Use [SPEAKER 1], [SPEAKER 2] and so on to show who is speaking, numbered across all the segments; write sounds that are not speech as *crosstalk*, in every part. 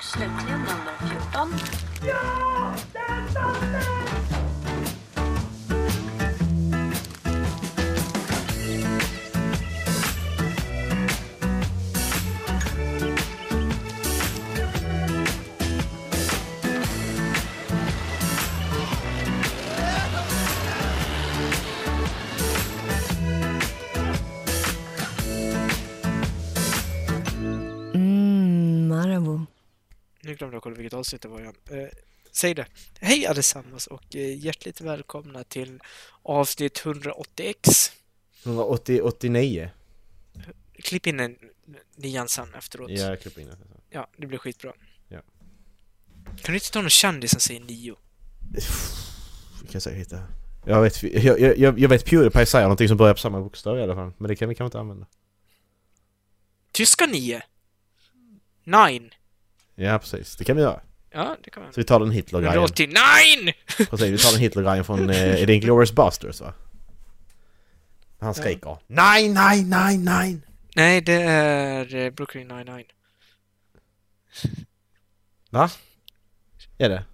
[SPEAKER 1] slutligen nummer 14.
[SPEAKER 2] Mm, Marabou.
[SPEAKER 3] Nu glömde jag kolla vilket avsnitt det var igen. Eh, säg det. Hej allesammans och eh, hjärtligt välkomna till avsnitt 180x.
[SPEAKER 4] 180, 89.
[SPEAKER 3] Klipp in en nian sen efteråt.
[SPEAKER 4] Ja, jag klipper in det.
[SPEAKER 3] Ja, det blir skitbra.
[SPEAKER 4] Ja.
[SPEAKER 3] Kan du inte ta någon kändis som säger nio?
[SPEAKER 4] Vi kan säkert hitta. Jag vet, jag, jag- jag, jag vet Pewdiepie säger någonting som börjar på samma bokstav i alla fall. Men det kan vi kanske inte använda.
[SPEAKER 3] Tyska nio? Nine?
[SPEAKER 4] Ja, precis. Det kan vi göra.
[SPEAKER 3] Ja, det kan man.
[SPEAKER 4] Så vi tar den
[SPEAKER 3] Men
[SPEAKER 4] Hitler-grejen.
[SPEAKER 3] då till nine!
[SPEAKER 4] Precis, vi tar den Hitler-grejen från, eh, är det Inglourious Busters va? Han skriker Nej, nej, nej, nej!
[SPEAKER 3] Nej, det är eh, Brooklyn 99.
[SPEAKER 4] Va? Är det?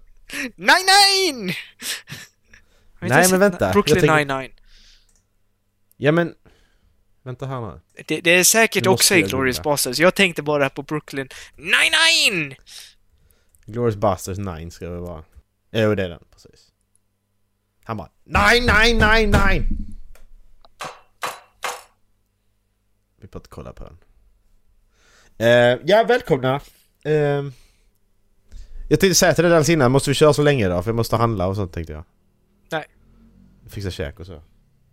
[SPEAKER 3] Nine nine! *laughs* Har inte
[SPEAKER 4] Nej,
[SPEAKER 3] sett
[SPEAKER 4] men vänta.
[SPEAKER 3] na- Brooklyn
[SPEAKER 4] Jag tänker-
[SPEAKER 3] 99.
[SPEAKER 4] Ja men... Vänta här nu.
[SPEAKER 3] Det, det är säkert
[SPEAKER 4] Nu måste
[SPEAKER 3] också
[SPEAKER 4] jag
[SPEAKER 3] i Glorious
[SPEAKER 4] googla.
[SPEAKER 3] Bastards. Jag tänkte bara på Brooklyn 99!
[SPEAKER 4] Glorious Busters 9 ska det vara. Jo, det är den. Precis. Han bara Nej, nej, nej, nej! Vi får inte kolla på den. Eh, ja, välkomna! Eh, jag tänkte säga till dig alldeles innan, måste vi köra så länge då? För jag måste handla och sånt tänkte jag.
[SPEAKER 3] Nej.
[SPEAKER 4] Fixa käk och så.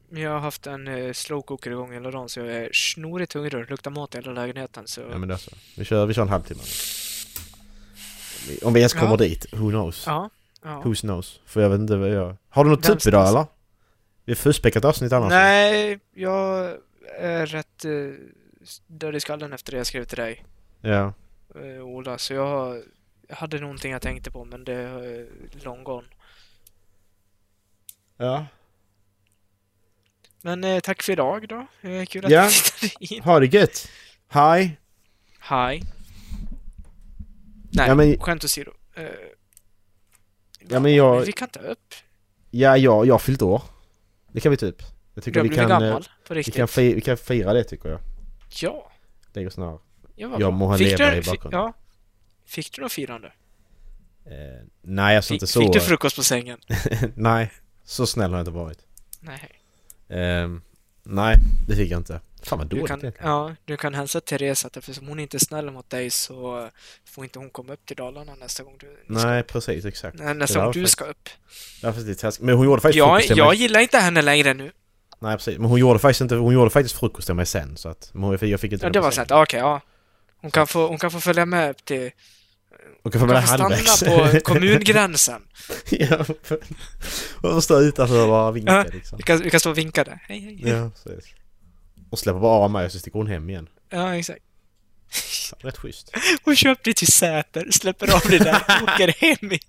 [SPEAKER 3] Men Jag har haft en eh, slowcooker igång hela dagen så jag är snorigt hungrig. Luktar mat i hela lägenheten så...
[SPEAKER 4] Ja men det är så. Vi kör, vi kör en halvtimme. Om vi ens kommer
[SPEAKER 3] Ja.
[SPEAKER 4] dit, who knows?
[SPEAKER 3] ja. ja.
[SPEAKER 4] Who's knows? För jag vet inte vad jag... Har du något
[SPEAKER 3] Vem
[SPEAKER 4] typ idag
[SPEAKER 3] knows?
[SPEAKER 4] eller? Vi har fullspäckat avsnitt annars.
[SPEAKER 3] Nej, jag är rätt eh, död i skallen efter det jag skrev till dig,
[SPEAKER 4] Ja.
[SPEAKER 3] eh, Ola. Så jag, har- jag hade någonting jag tänkte på men det är eh, long gone.
[SPEAKER 4] Ja.
[SPEAKER 3] Men eh, tack för idag då. Eh, kul att
[SPEAKER 4] Ja.
[SPEAKER 3] du tittade in.
[SPEAKER 4] Ha det gött! Hi!
[SPEAKER 3] Hi. Nej,
[SPEAKER 4] Ja, men-
[SPEAKER 3] skämt åsido. Eh,
[SPEAKER 4] Ja men jag...
[SPEAKER 3] Vi kan ta upp.
[SPEAKER 4] Ja, jag, jag har fyllt år. Det kan vi typ. Jag
[SPEAKER 3] Du
[SPEAKER 4] tycker
[SPEAKER 3] har
[SPEAKER 4] vi
[SPEAKER 3] blivit
[SPEAKER 4] kan... eh,
[SPEAKER 3] gammal, på
[SPEAKER 4] Vi
[SPEAKER 3] riktigt.
[SPEAKER 4] kan, fi, vi kan fira det tycker jag.
[SPEAKER 3] Ja,
[SPEAKER 4] Det är ju snarare.
[SPEAKER 3] jag var
[SPEAKER 4] Jag
[SPEAKER 3] bra.
[SPEAKER 4] må ha
[SPEAKER 3] Fick
[SPEAKER 4] lever
[SPEAKER 3] du,
[SPEAKER 4] i
[SPEAKER 3] fi-
[SPEAKER 4] bakgrunden.
[SPEAKER 3] Ja. Fick du något firande?
[SPEAKER 4] Eh, nej alltså
[SPEAKER 3] Fick,
[SPEAKER 4] inte så...
[SPEAKER 3] fick du frukost på sängen?
[SPEAKER 4] *laughs* nej. Så snäll har jag inte varit.
[SPEAKER 3] Nej.
[SPEAKER 4] Ehm, nej, det fick jag inte. Fan vad
[SPEAKER 3] Du
[SPEAKER 4] dåligt
[SPEAKER 3] kan,
[SPEAKER 4] egentligen.
[SPEAKER 3] ja, du kan hälsa Therese att eftersom hon inte är snäll mot dig så eh, får inte hon komma upp till Dalarna nästa gång du, ni
[SPEAKER 4] Nej precis, exakt.
[SPEAKER 3] ska, nä-
[SPEAKER 4] det
[SPEAKER 3] nästa
[SPEAKER 4] där
[SPEAKER 3] gång
[SPEAKER 4] var
[SPEAKER 3] du
[SPEAKER 4] faktiskt-
[SPEAKER 3] ska upp.
[SPEAKER 4] Därför är det taskigt. Men hon gjorde faktiskt
[SPEAKER 3] Jag,
[SPEAKER 4] frukost till
[SPEAKER 3] jag
[SPEAKER 4] mig.
[SPEAKER 3] gillar inte henne längre nu.
[SPEAKER 4] Nej precis, men hon gjorde faktiskt inte, hon gjorde faktiskt frukost till mig sen så att men hon, jag fick- jag fick inte
[SPEAKER 3] Ja,
[SPEAKER 4] den
[SPEAKER 3] det var
[SPEAKER 4] presenten.
[SPEAKER 3] snällt. Okej, ja. Hon kan, få, hon kan få följa med upp till...
[SPEAKER 4] Hon kan få
[SPEAKER 3] Hon
[SPEAKER 4] med det
[SPEAKER 3] kan få
[SPEAKER 4] halvvägs.
[SPEAKER 3] stanna på kommungränsen.
[SPEAKER 4] *laughs* ja, för- och stå utanför och bara vinka
[SPEAKER 3] Ja.
[SPEAKER 4] liksom.
[SPEAKER 3] Vi kan, vi kan stå och vinka där. Hej, hej. Ja,
[SPEAKER 4] Ja, precis. Och släpper bara av mig och så sticker hon hem igen.
[SPEAKER 3] exakt.
[SPEAKER 4] Fan, Rätt schysst.
[SPEAKER 3] Hon köper dig till Säter, släpper av dig där och åker hem igen.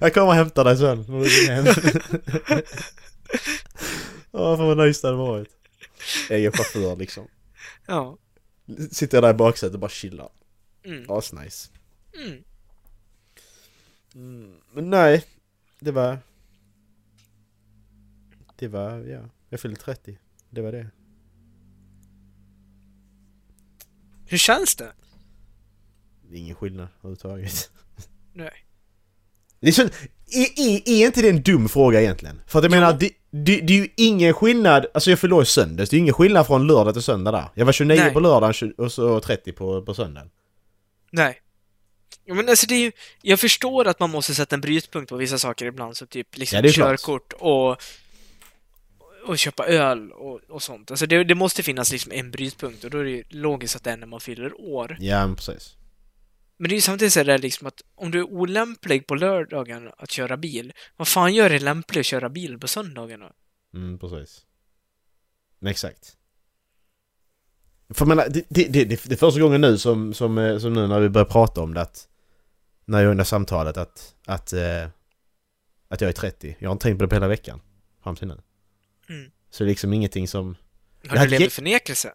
[SPEAKER 4] Jag kommer och hämtar dig sen. när du ringer
[SPEAKER 3] *laughs*
[SPEAKER 4] hem. Åh, fan vad nice det hade varit. Egen chaufför liksom.
[SPEAKER 3] Ja.
[SPEAKER 4] Sitter jag där i baksätet och bara chillar.
[SPEAKER 3] Mm.
[SPEAKER 4] Asnice.
[SPEAKER 3] Mm.
[SPEAKER 4] Mm, men nej, det var... Det var, ja. Jag fyllde 30. Det var det.
[SPEAKER 3] Hur känns det?
[SPEAKER 4] Det är ingen skillnad överhuvudtaget.
[SPEAKER 3] Nej.
[SPEAKER 4] Mm. Det är, så, är, är, är inte det en dum fråga egentligen? För att jag menar, det, det, det är ju ingen skillnad, alltså jag fyllde år i söndags, det är ju ingen skillnad från lördag till söndag där. Jag var 29
[SPEAKER 3] Nej.
[SPEAKER 4] på lördagen tju- och så 30 på, på söndagen.
[SPEAKER 3] Nej. Ja, men alltså det är ju, jag förstår att man måste sätta en brytpunkt på vissa saker ibland, som typ
[SPEAKER 4] Ja,
[SPEAKER 3] liksom
[SPEAKER 4] det är klart.
[SPEAKER 3] körkort och, och köpa öl och, och sånt. Alltså det, det måste finnas liksom en brytpunkt och då är det ju logiskt att det är när man fyller år.
[SPEAKER 4] Ja, men precis.
[SPEAKER 3] Men det är ju samtidigt så här där liksom att om du är olämplig på lördagen att köra bil, vad fan gör dig lämplig att köra bil på söndagen då?
[SPEAKER 4] Mm, precis. Men exakt. För jag menar, det, det, det, det det är första gången nu som, som, eh, som nu när vi börjar prata om det att när jag under samtalet att, att, eh, att jag är 30. Jag har inte tänkt på det på hela veckan. Fram till nu.
[SPEAKER 3] Mm.
[SPEAKER 4] Så det är liksom ingenting som...
[SPEAKER 3] Har
[SPEAKER 4] Det här
[SPEAKER 3] du lever
[SPEAKER 4] ge-
[SPEAKER 3] i förnekelse?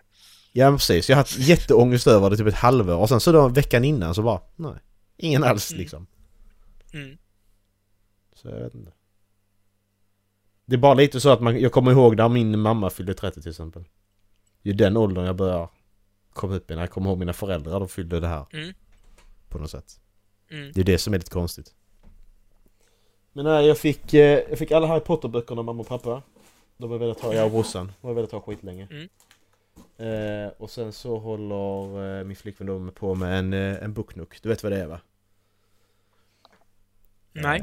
[SPEAKER 4] Ja men precis, jag har haft jätteångest över det typ ett halvår och sen så då veckan innan så bara, nej. Ingen alls
[SPEAKER 3] Mm.
[SPEAKER 4] liksom.
[SPEAKER 3] Mm.
[SPEAKER 4] Så jag vet inte. Det är bara lite så att man, jag kommer ihåg när min mamma fyllde 30 till exempel. Det är den åldern jag börjar komma upp i, när jag kommer ihåg mina föräldrar, de fyllde det här.
[SPEAKER 3] Mm.
[SPEAKER 4] På något sätt.
[SPEAKER 3] Mm.
[SPEAKER 4] Det är det som är lite konstigt. Men nej, jag fick, eh, jag fick alla Harry Potter-böckerna av mamma och pappa. De har velat ha, jag och brorsan, de har velat ha skitlänge.
[SPEAKER 3] Mm.
[SPEAKER 4] Eh, och sen så håller eh, min flickvän då på med en, eh, en booknook. Du vet vad det är va?
[SPEAKER 3] Nej.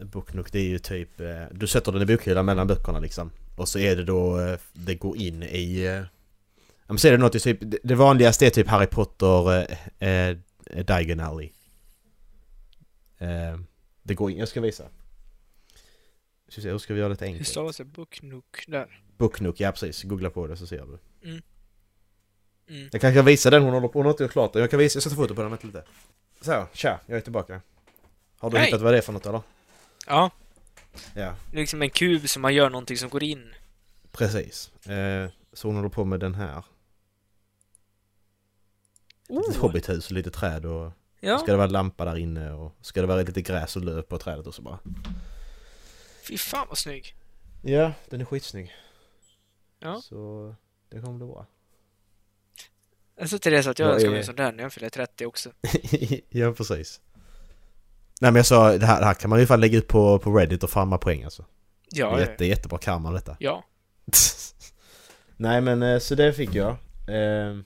[SPEAKER 4] Eh, booknook det är ju typ, eh, du sätter den i bokhyllan mellan böckerna liksom. Och så är det då, eh, det går in i... Eh, ja, men så är det något i typ, det- det vanligaste är typ Harry Potter eh, eh, Diagon Alley. Eh, det går in, jag ska visa. Ska vi se, hur ska vi göra det
[SPEAKER 3] Hur
[SPEAKER 4] enkelt?
[SPEAKER 3] stavas det? Booknook där.
[SPEAKER 4] Booknook, ja precis. Googla på det så ser du.
[SPEAKER 3] Mm.
[SPEAKER 4] Jag kanske kan visa den hon håller på, hon har inte gjort klart den. Jag kan visa, jag sätter foto på den, vänta lite. Så, tja, jag är tillbaka. Har du
[SPEAKER 3] Hej!
[SPEAKER 4] hittat vad det är för något eller?
[SPEAKER 3] Ja,
[SPEAKER 4] Ja.
[SPEAKER 3] det är liksom en kub som man gör någonting som går in.
[SPEAKER 4] Precis. Eh, så hon håller på med den här. Ett
[SPEAKER 3] Oh.
[SPEAKER 4] hobbithus och lite träd och
[SPEAKER 3] Ja,
[SPEAKER 4] ska det vara en lampa där inne och ska det vara lite gräs och löv på trädet och så bara.
[SPEAKER 3] fy fan vad snygg.
[SPEAKER 4] Ja, den är skitsnygg.
[SPEAKER 3] Ja.
[SPEAKER 4] Så det kommer bli bra.
[SPEAKER 3] Jag sa till Therese Alltså, att jag
[SPEAKER 4] Ja,
[SPEAKER 3] önskar
[SPEAKER 4] eh.
[SPEAKER 3] mig en sån där när jag fyller 30 också.
[SPEAKER 4] *laughs* ja, precis. Nej men jag sa, det här, det här kan man ju fan lägga ut på, på Reddit och farma poäng alltså. Det
[SPEAKER 3] Ja,
[SPEAKER 4] är
[SPEAKER 3] ja,
[SPEAKER 4] jätte, jättebra karma detta.
[SPEAKER 3] *laughs* ja.
[SPEAKER 4] Nej men eh, så det fick jag. Eh,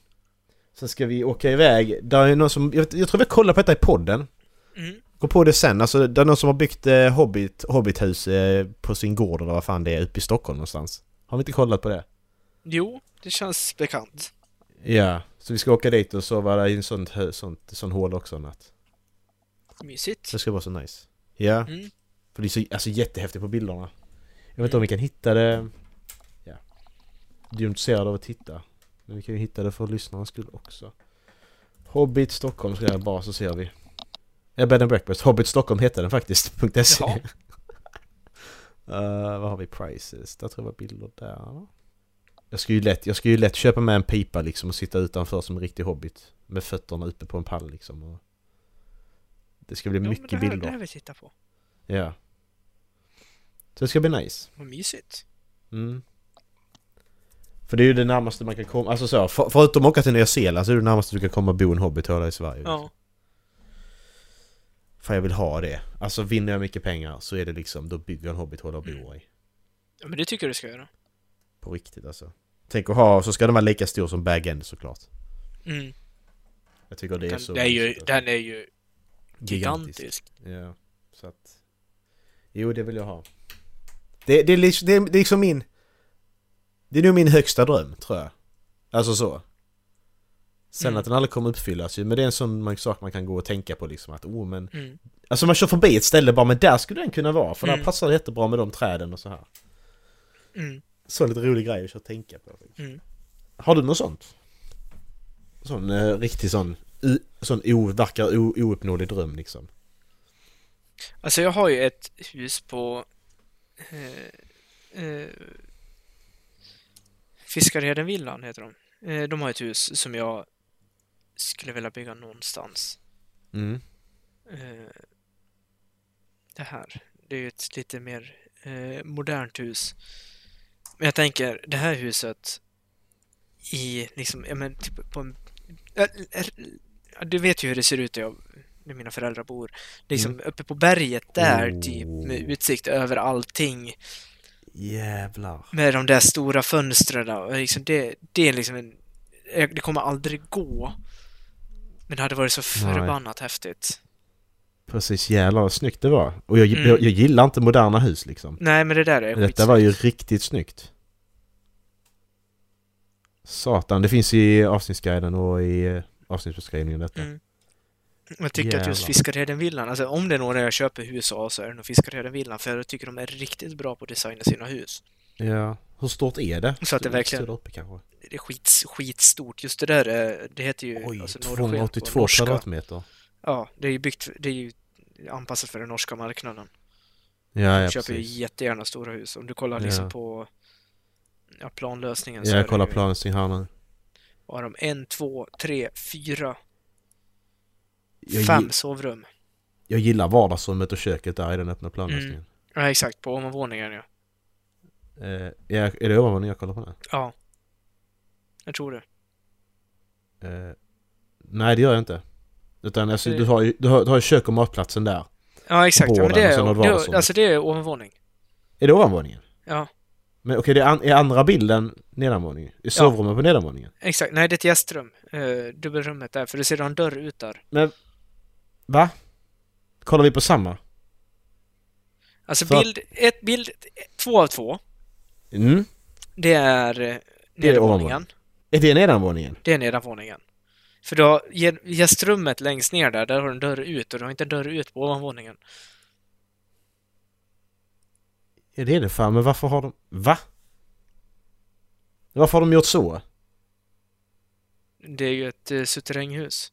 [SPEAKER 4] sen ska vi åka iväg. Där är någon som, jag, vet- jag tror vi kollar på detta i podden.
[SPEAKER 3] Mm.
[SPEAKER 4] Gå på det sen, alltså det är någon som har byggt eh, Hobbit, Hobbithus eh, på sin gård eller vad fan det är uppe i Stockholm någonstans. Har vi inte kollat på det?
[SPEAKER 3] Jo, det känns bekant.
[SPEAKER 4] Ja, så vi ska åka dit och sova där i en sånt, hö- sånt, sån hål också en natt.
[SPEAKER 3] Mysigt.
[SPEAKER 4] Det ska vara så nice. Ja,
[SPEAKER 3] Mm.
[SPEAKER 4] för det är så alltså, jättehäftigt på bilderna. Jag vet inte om vi kan hitta det. Ja. Du är ju intresserad av att titta. Men vi kan ju hitta det för lyssnarnas skull också. Hobbit Stockholm ska jag bara så ser vi. Ja, bed and breakfast. Hobbit Stockholm heter den faktiskt. *laughs* .se.
[SPEAKER 3] Jaha.
[SPEAKER 4] Eh, vad har vi prices? Där tror jag var bilder där. Jag ska, ju lätt, jag ska ju lätt köpa med en pipa liksom och sitta utanför som en riktig hobbit. Med fötterna uppe på en pall liksom. Och det ska bli
[SPEAKER 3] Ja, men
[SPEAKER 4] mycket
[SPEAKER 3] det här, Det
[SPEAKER 4] bilder.
[SPEAKER 3] här vill jag titta på.
[SPEAKER 4] Ja. Så det ska bli nice.
[SPEAKER 3] Vad mysigt.
[SPEAKER 4] Mm. För det är ju det närmaste man kan komma, alltså så, för, förutom att åka till Nya Zeeland så är det närmaste du kan komma och bo en hobbit här i Sverige.
[SPEAKER 3] Ja.
[SPEAKER 4] För jag vill ha det. Alltså vinner jag mycket pengar så är det liksom, då bygger jag en hobbithåla och bor i.
[SPEAKER 3] ja, men det tycker jag du ska göra.
[SPEAKER 4] På riktigt alltså. Tänk att ha, så ska den vara lika stor som Bag-End såklart.
[SPEAKER 3] Mm.
[SPEAKER 4] Jag tycker det är
[SPEAKER 3] Den,
[SPEAKER 4] så...
[SPEAKER 3] det är ju,
[SPEAKER 4] mysigt,
[SPEAKER 3] den är ju
[SPEAKER 4] alltså.
[SPEAKER 3] gigantisk.
[SPEAKER 4] Ja, så att... Jo, det vill jag ha. Det, det, är, liksom, det, är, det är liksom min... Det är nog min högsta dröm, tror jag. Alltså så. Sen
[SPEAKER 3] Mm.
[SPEAKER 4] att den aldrig kommer uppfyllas ju, men det är en sån man- sak man kan gå och tänka på liksom att oh men...
[SPEAKER 3] Mm.
[SPEAKER 4] Alltså man kör förbi ett ställe bara men där skulle den kunna vara för där
[SPEAKER 3] Mm.
[SPEAKER 4] passar det jättebra med de träden och så här.
[SPEAKER 3] Mm.
[SPEAKER 4] Så lite rolig grej att köra och tänka på. liksom.
[SPEAKER 3] Mm.
[SPEAKER 4] Har du något sånt? Sån eh, riktig sån, u, sån o, verkar o, ouppnåelig dröm liksom.
[SPEAKER 3] Alltså jag har ju ett hus på eh, eh, Fiskarhedenvillan heter de. Eh, de har ett hus som jag skulle vilja bygga någonstans.
[SPEAKER 4] Mm.
[SPEAKER 3] Eh, det här. Det är ju ett lite mer eh, modernt hus. Men jag tänker, det här huset i liksom, ja men typ på en... Ja, ja, du vet ju hur det ser ut där, jag, där mina föräldrar bor. Liksom uppe på berget där typ med
[SPEAKER 4] Mm. Oh.
[SPEAKER 3] utsikt över allting.
[SPEAKER 4] Jävlar.
[SPEAKER 3] Med de där stora fönstren där. Och Liksom det, det är liksom en... Det kommer aldrig gå. Men det hade varit så
[SPEAKER 4] Nej.
[SPEAKER 3] förbannat häftigt.
[SPEAKER 4] Precis, jävlar vad snyggt det var. Och jag,
[SPEAKER 3] Mm.
[SPEAKER 4] jag, jag gillar inte moderna hus liksom.
[SPEAKER 3] Nej men det där är
[SPEAKER 4] Detta var ju riktigt snyggt. Satan, det finns i avsnittsguiden och i eh, avsnittsbeskrivningen detta.
[SPEAKER 3] Mm. Jag tycker att just
[SPEAKER 4] Jävlar.
[SPEAKER 3] Fiskarhedenvillan, alltså om det är några jag köper hus av så är det nog Fiskarhedenvillan för jag tycker de är riktigt bra på att designa sina hus.
[SPEAKER 4] Ja. Hur stort är det?
[SPEAKER 3] Så att det verkligen- Eh,
[SPEAKER 4] Står det uppe kanske?
[SPEAKER 3] Det är skits, skitstort. Just det där, är- det heter ju
[SPEAKER 4] Oj,
[SPEAKER 3] alltså, norrsken på
[SPEAKER 4] 282
[SPEAKER 3] norska.
[SPEAKER 4] kvadratmeter.
[SPEAKER 3] Ja, det är ju byggt, det är ju anpassat för den norska marknaden.
[SPEAKER 4] Ja,
[SPEAKER 3] de
[SPEAKER 4] ja
[SPEAKER 3] köper
[SPEAKER 4] precis.
[SPEAKER 3] ju jättegärna stora hus. Om du kollar liksom
[SPEAKER 4] Ja.
[SPEAKER 3] på ja, planlösningen
[SPEAKER 4] Ja, jag
[SPEAKER 3] det
[SPEAKER 4] kollar
[SPEAKER 3] ju-
[SPEAKER 4] planen här nu.
[SPEAKER 3] Och har de en, två, tre, fyra,
[SPEAKER 4] Jag,
[SPEAKER 3] fem
[SPEAKER 4] gi-
[SPEAKER 3] sovrum.
[SPEAKER 4] jag gillar vardagsrummet och köket där i den öppna
[SPEAKER 3] Mm.
[SPEAKER 4] planlösningen.
[SPEAKER 3] Ja, exakt. På ovanvåningen, ja.
[SPEAKER 4] Eh, är är det ovanvåningen jag kollar på nu?
[SPEAKER 3] Ja. Jag tror det.
[SPEAKER 4] Eh, nej, det gör jag inte. Utan alltså,
[SPEAKER 3] Det-
[SPEAKER 4] du, har ju, du, har, du har ju kök och matplatsen där.
[SPEAKER 3] Ja, exakt. Ja, men det
[SPEAKER 4] Vården, sen har
[SPEAKER 3] är,
[SPEAKER 4] du
[SPEAKER 3] det,
[SPEAKER 4] vardagsrummet.
[SPEAKER 3] alltså det är ovanvåning.
[SPEAKER 4] Är det ovanvåningen?
[SPEAKER 3] Ja,
[SPEAKER 4] Men okej, det är, an- är andra bilden nedanvåningen? Är sovrummet på nedanvåningen?
[SPEAKER 3] exakt. Nej, det är ett gästrum. Eh, dubbelrummet där, för du ser en dörr ut där.
[SPEAKER 4] Va? Kollar vi på samma?
[SPEAKER 3] Alltså
[SPEAKER 4] Så att-
[SPEAKER 3] bild, ett, bild två av två,
[SPEAKER 4] Mm.
[SPEAKER 3] det är eh, nedervåningen.
[SPEAKER 4] ovanvåningen. Är det nedanvåningen?
[SPEAKER 3] Det är nedanvåningen. För då, ge- gästrummet längst ner där, där har du en dörr ut och du har inte en dörr ut på ovanvåningen.
[SPEAKER 4] Ja, det är det fan, men varför har de... Va? Varför har de gjort så?
[SPEAKER 3] Det är ju ett eh, suterränghus.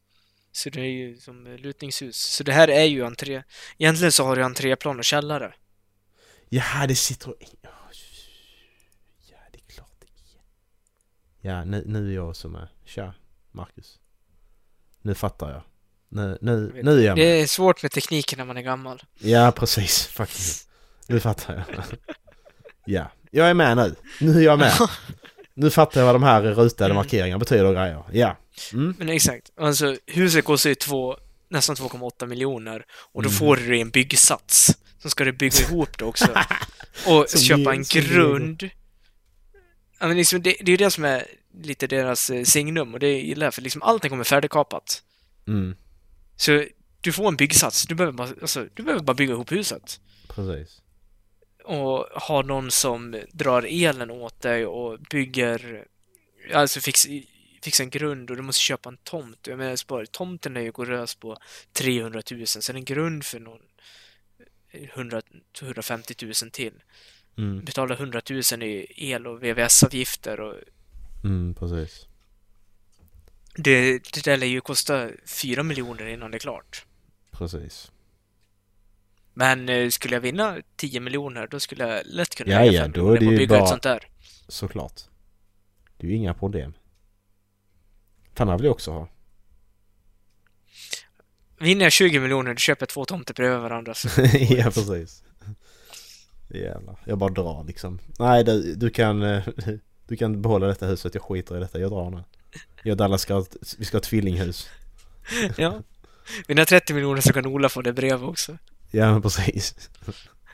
[SPEAKER 3] Så det är ju som eh, lutningshus. Så det här är ju entré... Egentligen så har du entréplan och källare.
[SPEAKER 4] Jaha, det sitter... Ja, det är klart det är. Ja, nu, nu är jag som är... Tja, Marcus. Nu fattar jag. Nu, nu, nu är jag
[SPEAKER 3] Det
[SPEAKER 4] med.
[SPEAKER 3] är svårt med tekniken när man är gammal.
[SPEAKER 4] Ja, precis. Faktiskt. Nu fattar jag. Ja, jag är med nu. Nu är jag med. Nu fattar jag vad de här rutade
[SPEAKER 3] Mm.
[SPEAKER 4] markeringarna betyder och grejer. Ja. Mm.
[SPEAKER 3] Men exakt. Alltså, huset kostar ju två, nästan 2,8 miljoner och då
[SPEAKER 4] Mm.
[SPEAKER 3] får du det i en byggsats. Så ska du bygga ihop det också.
[SPEAKER 4] *laughs*
[SPEAKER 3] Och
[SPEAKER 4] Som
[SPEAKER 3] köpa
[SPEAKER 4] i-
[SPEAKER 3] en
[SPEAKER 4] som i Lego.
[SPEAKER 3] grund. Ja, men liksom, det, det är ju det som är lite deras eh, signum och det gillar jag för liksom allting kommer färdigkapat.
[SPEAKER 4] Mm.
[SPEAKER 3] Så du får en byggsats. Du behöver bara, alltså, du behöver bara bygga ihop huset.
[SPEAKER 4] Precis.
[SPEAKER 3] Och ha någon som drar elen åt dig och bygger, alltså fix, fixa en grund och du måste köpa en tomt. Jag menar, spara, tomten är ju gorös på 300 000, sen en grund för någon 100, 150 000 till.
[SPEAKER 4] Mm.
[SPEAKER 3] Betala 100 000 i el och VVS-avgifter och
[SPEAKER 4] Mm, precis.
[SPEAKER 3] det, det där lär ju kosta 4 miljoner innan det är klart.
[SPEAKER 4] Precis.
[SPEAKER 3] Men eh, skulle jag vinna 10 miljoner, då skulle jag lätt kunna
[SPEAKER 4] Ja,
[SPEAKER 3] lägga
[SPEAKER 4] ja,
[SPEAKER 3] fem
[SPEAKER 4] då är
[SPEAKER 3] miljoner
[SPEAKER 4] det
[SPEAKER 3] på att
[SPEAKER 4] ju
[SPEAKER 3] bygga
[SPEAKER 4] bara-
[SPEAKER 3] ett sånt där.
[SPEAKER 4] Såklart. Det är ju inga problem. Fan, det här vill jag också ha.
[SPEAKER 3] Vinner jag 20 miljoner, då köper jag två tomter bredvid varandra. Så
[SPEAKER 4] *laughs* ja, precis. Jävlar. Jag bara drar liksom. Nej, du, du kan... eh, Du kan behålla detta huset. Jag skiter i detta. Jag drar nu. Jag och Dallas ska ha ett, vi ska ha ett tvillinghus.
[SPEAKER 3] Ja. Vinner jag 30 miljoner så kan Ola få det brev också.
[SPEAKER 4] Ja, men precis.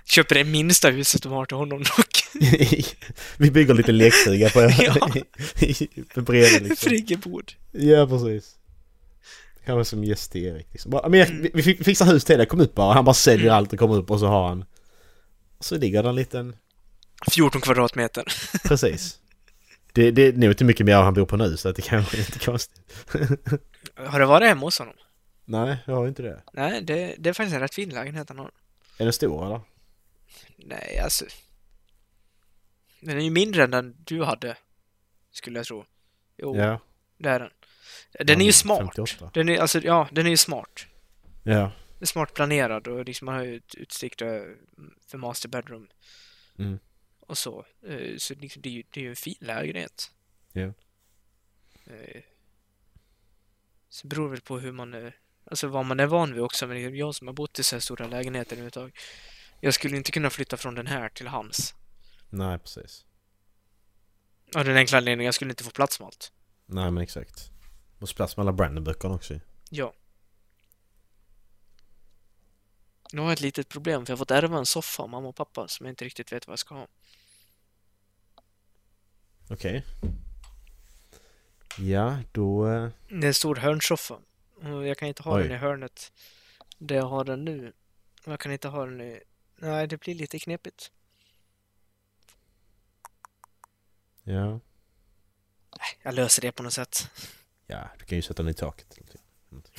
[SPEAKER 3] Köper det minsta huset de har till honom *laughs* dock.
[SPEAKER 4] vi bygger lite lekstuga på,
[SPEAKER 3] Ja.
[SPEAKER 4] på bredvid liksom.
[SPEAKER 3] Friggebod.
[SPEAKER 4] Ja, precis. Han var som gäst till Erik liksom. bara, men jag, vi, vi fixar hus till dig, kom upp bara. Han bara säljer allt och kommer upp och så har han... Så ligger det en liten...
[SPEAKER 3] 14 kvadratmeter.
[SPEAKER 4] Precis. Det, det är nog inte mycket mer han bor på nu så att det kanske inte är konstigt.
[SPEAKER 3] Har det varit hemma hos honom?
[SPEAKER 4] Nej, jag har inte det.
[SPEAKER 3] Nej, det, det är faktiskt en rätt fin lägenhet han har.
[SPEAKER 4] Är den stor eller?
[SPEAKER 3] Nej, alltså. Den är ju mindre än den du hade. Skulle jag tro. Jo,
[SPEAKER 4] Ja.
[SPEAKER 3] det är den. Den är ju smart.
[SPEAKER 4] 58.
[SPEAKER 3] Den är, alltså, ja, den är ju smart.
[SPEAKER 4] Ja.
[SPEAKER 3] Den är smart planerad och liksom man har ju ett utstick där för master bedroom.
[SPEAKER 4] Mm.
[SPEAKER 3] Och så. Eh, Så liksom, det är ju det är ju en fin lägenhet.
[SPEAKER 4] Ja.
[SPEAKER 3] Eh, Så beror det väl på hur man, eh, alltså vad man är van vid också. Men det är jag som har bott i så här stora lägenheter överhuvudtaget. Jag skulle inte kunna flytta från den här till hans.
[SPEAKER 4] Nej, precis.
[SPEAKER 3] Av den enkla anledningen, jag skulle inte få plats med allt.
[SPEAKER 4] Nej, men exakt. Måste plats med alla Brandon-böckerna också ju.
[SPEAKER 3] Ja. Nu har jag ett litet problem för jag har fått ärva en soffa av mamma och pappa som jag inte riktigt vet vad jag ska ha.
[SPEAKER 4] Okej. Ja, då... eh,
[SPEAKER 3] Det är en stor hörnsoffa. Och jag kan inte ha
[SPEAKER 4] Oj.
[SPEAKER 3] den i hörnet där jag har den nu. Och Jag kan inte ha den i... Nej, det blir lite knepigt.
[SPEAKER 4] Ja.
[SPEAKER 3] Jag löser det på något sätt.
[SPEAKER 4] Ja, du kan ju sätta den i taket. eller någonting.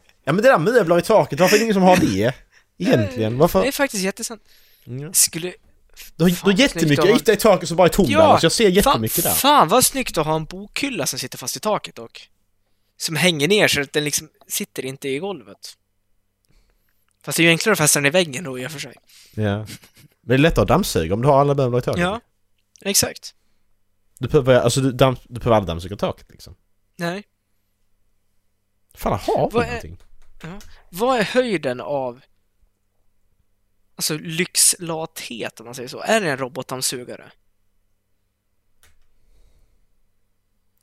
[SPEAKER 4] *laughs* ja men det där möbler i taket, varför är det ingen som har det? Egentligen, varför?
[SPEAKER 3] Det är faktiskt jättesant.
[SPEAKER 4] Ja.
[SPEAKER 3] Skulle...
[SPEAKER 4] Du har,
[SPEAKER 3] Fan,
[SPEAKER 4] du har jättemycket
[SPEAKER 3] snyggt.
[SPEAKER 4] yta i taket som bara är tom
[SPEAKER 3] Ja,
[SPEAKER 4] ja, så jag ser
[SPEAKER 3] Fan,
[SPEAKER 4] jättemycket där.
[SPEAKER 3] fan vad snyggt att ha en bokhylla som sitter fast i taket dock. Som hänger ner så att den liksom sitter inte i golvet. Fast det är ju enklare att fästa den i väggen då i och för sig.
[SPEAKER 4] Ja. Men det är lättare att dammsuga om du har alla möbler i taket.
[SPEAKER 3] Ja, exakt.
[SPEAKER 4] Du behöver, alltså du, damms, du behöver aldrig dammsuga taket liksom.
[SPEAKER 3] Nej.
[SPEAKER 4] Fan, har vi
[SPEAKER 3] Vad är-
[SPEAKER 4] någonting?
[SPEAKER 3] Vad är höjden av alltså lyxlathet om man säger så? Är det en robotdammsugare?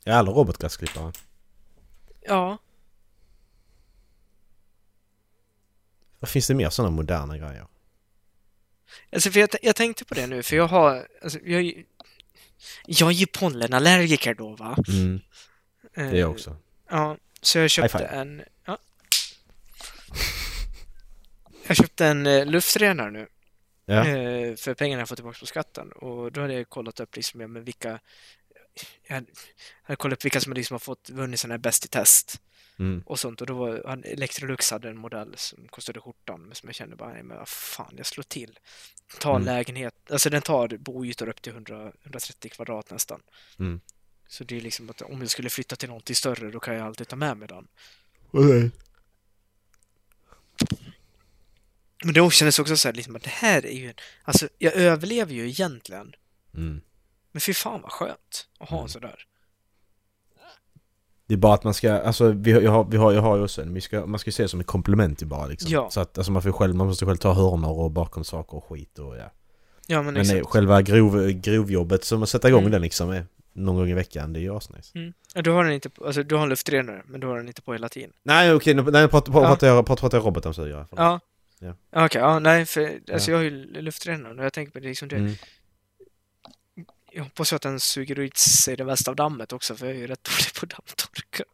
[SPEAKER 4] Ja, alla robotgräsklippare.
[SPEAKER 3] Ja,
[SPEAKER 4] Vad finns det mer sådana moderna grejer?
[SPEAKER 3] alltså för jag, t- jag tänkte på det nu för jag har, alltså, jag, är ju- jag är ju pollenallergiker då va?
[SPEAKER 4] Mm, det är
[SPEAKER 3] Eh,
[SPEAKER 4] jag också.
[SPEAKER 3] Ja, så jag köpte
[SPEAKER 4] High five.
[SPEAKER 3] en... Ja. Jag köpte en eh, luftrenare nu.
[SPEAKER 4] Ja.
[SPEAKER 3] eh, För pengarna jag fått tillbaka på skatten. Och då hade jag kollat upp liksom, ja, men vilka... Jag hade- jag hade kollat upp vilka som liksom har fått vunnit sådana här Bäst i test
[SPEAKER 4] Mm.
[SPEAKER 3] och sånt. Och då var han- Electrolux hade en modell som kostade skjortan. Men som jag kände bara, nej men vad fan, jag slår till. Ta
[SPEAKER 4] Mm.
[SPEAKER 3] lägenhet, alltså den tar boytor upp till 100, 130 kvadrat nästan.
[SPEAKER 4] Mm.
[SPEAKER 3] Så det är liksom att om jag skulle flytta till någonting större då kan jag alltid ta med mig den. Men det kändes också så här, liksom, att det här är ju... Alltså, jag överlever ju egentligen.
[SPEAKER 4] Mm.
[SPEAKER 3] Men fy fan vad skönt att ha en
[SPEAKER 4] Mm.
[SPEAKER 3] sådär.
[SPEAKER 4] Det är bara att man ska, alltså vi har, jag har, vi har, jag har ju också en, vi ska, man ska ju se det som ett komplement ju bara liksom.
[SPEAKER 3] Ja.
[SPEAKER 4] Så att alltså, man, får själv, man måste själv ta hörnor och bakom saker och skit och ja.
[SPEAKER 3] Ja, men,
[SPEAKER 4] Men
[SPEAKER 3] exakt.
[SPEAKER 4] nej, själva grov, grovjobbet som att sätta igång
[SPEAKER 3] Mm.
[SPEAKER 4] den liksom är någon gång i veckan, det är ju asnice.
[SPEAKER 3] Mm. Ja, Du har den inte på, alltså, du har en luftrenare, men du har den inte på hela tiden.
[SPEAKER 4] Nej okej, nu nej, nu pratar, pratar,
[SPEAKER 3] Ja.
[SPEAKER 4] pratar jag, pratar, pratar jag robotdammsugare. förlåt.
[SPEAKER 3] Ja.
[SPEAKER 4] Ja.
[SPEAKER 3] Okej, ja, nej, för alltså,
[SPEAKER 4] Ja.
[SPEAKER 3] jag har ju luftrenaren och jag tänker på det liksom, det,
[SPEAKER 4] Mm. *laughs*
[SPEAKER 3] jag hoppas ju att den suger ut sig det värsta av dammet också, för jag är ju rätt dålig på dammtorka.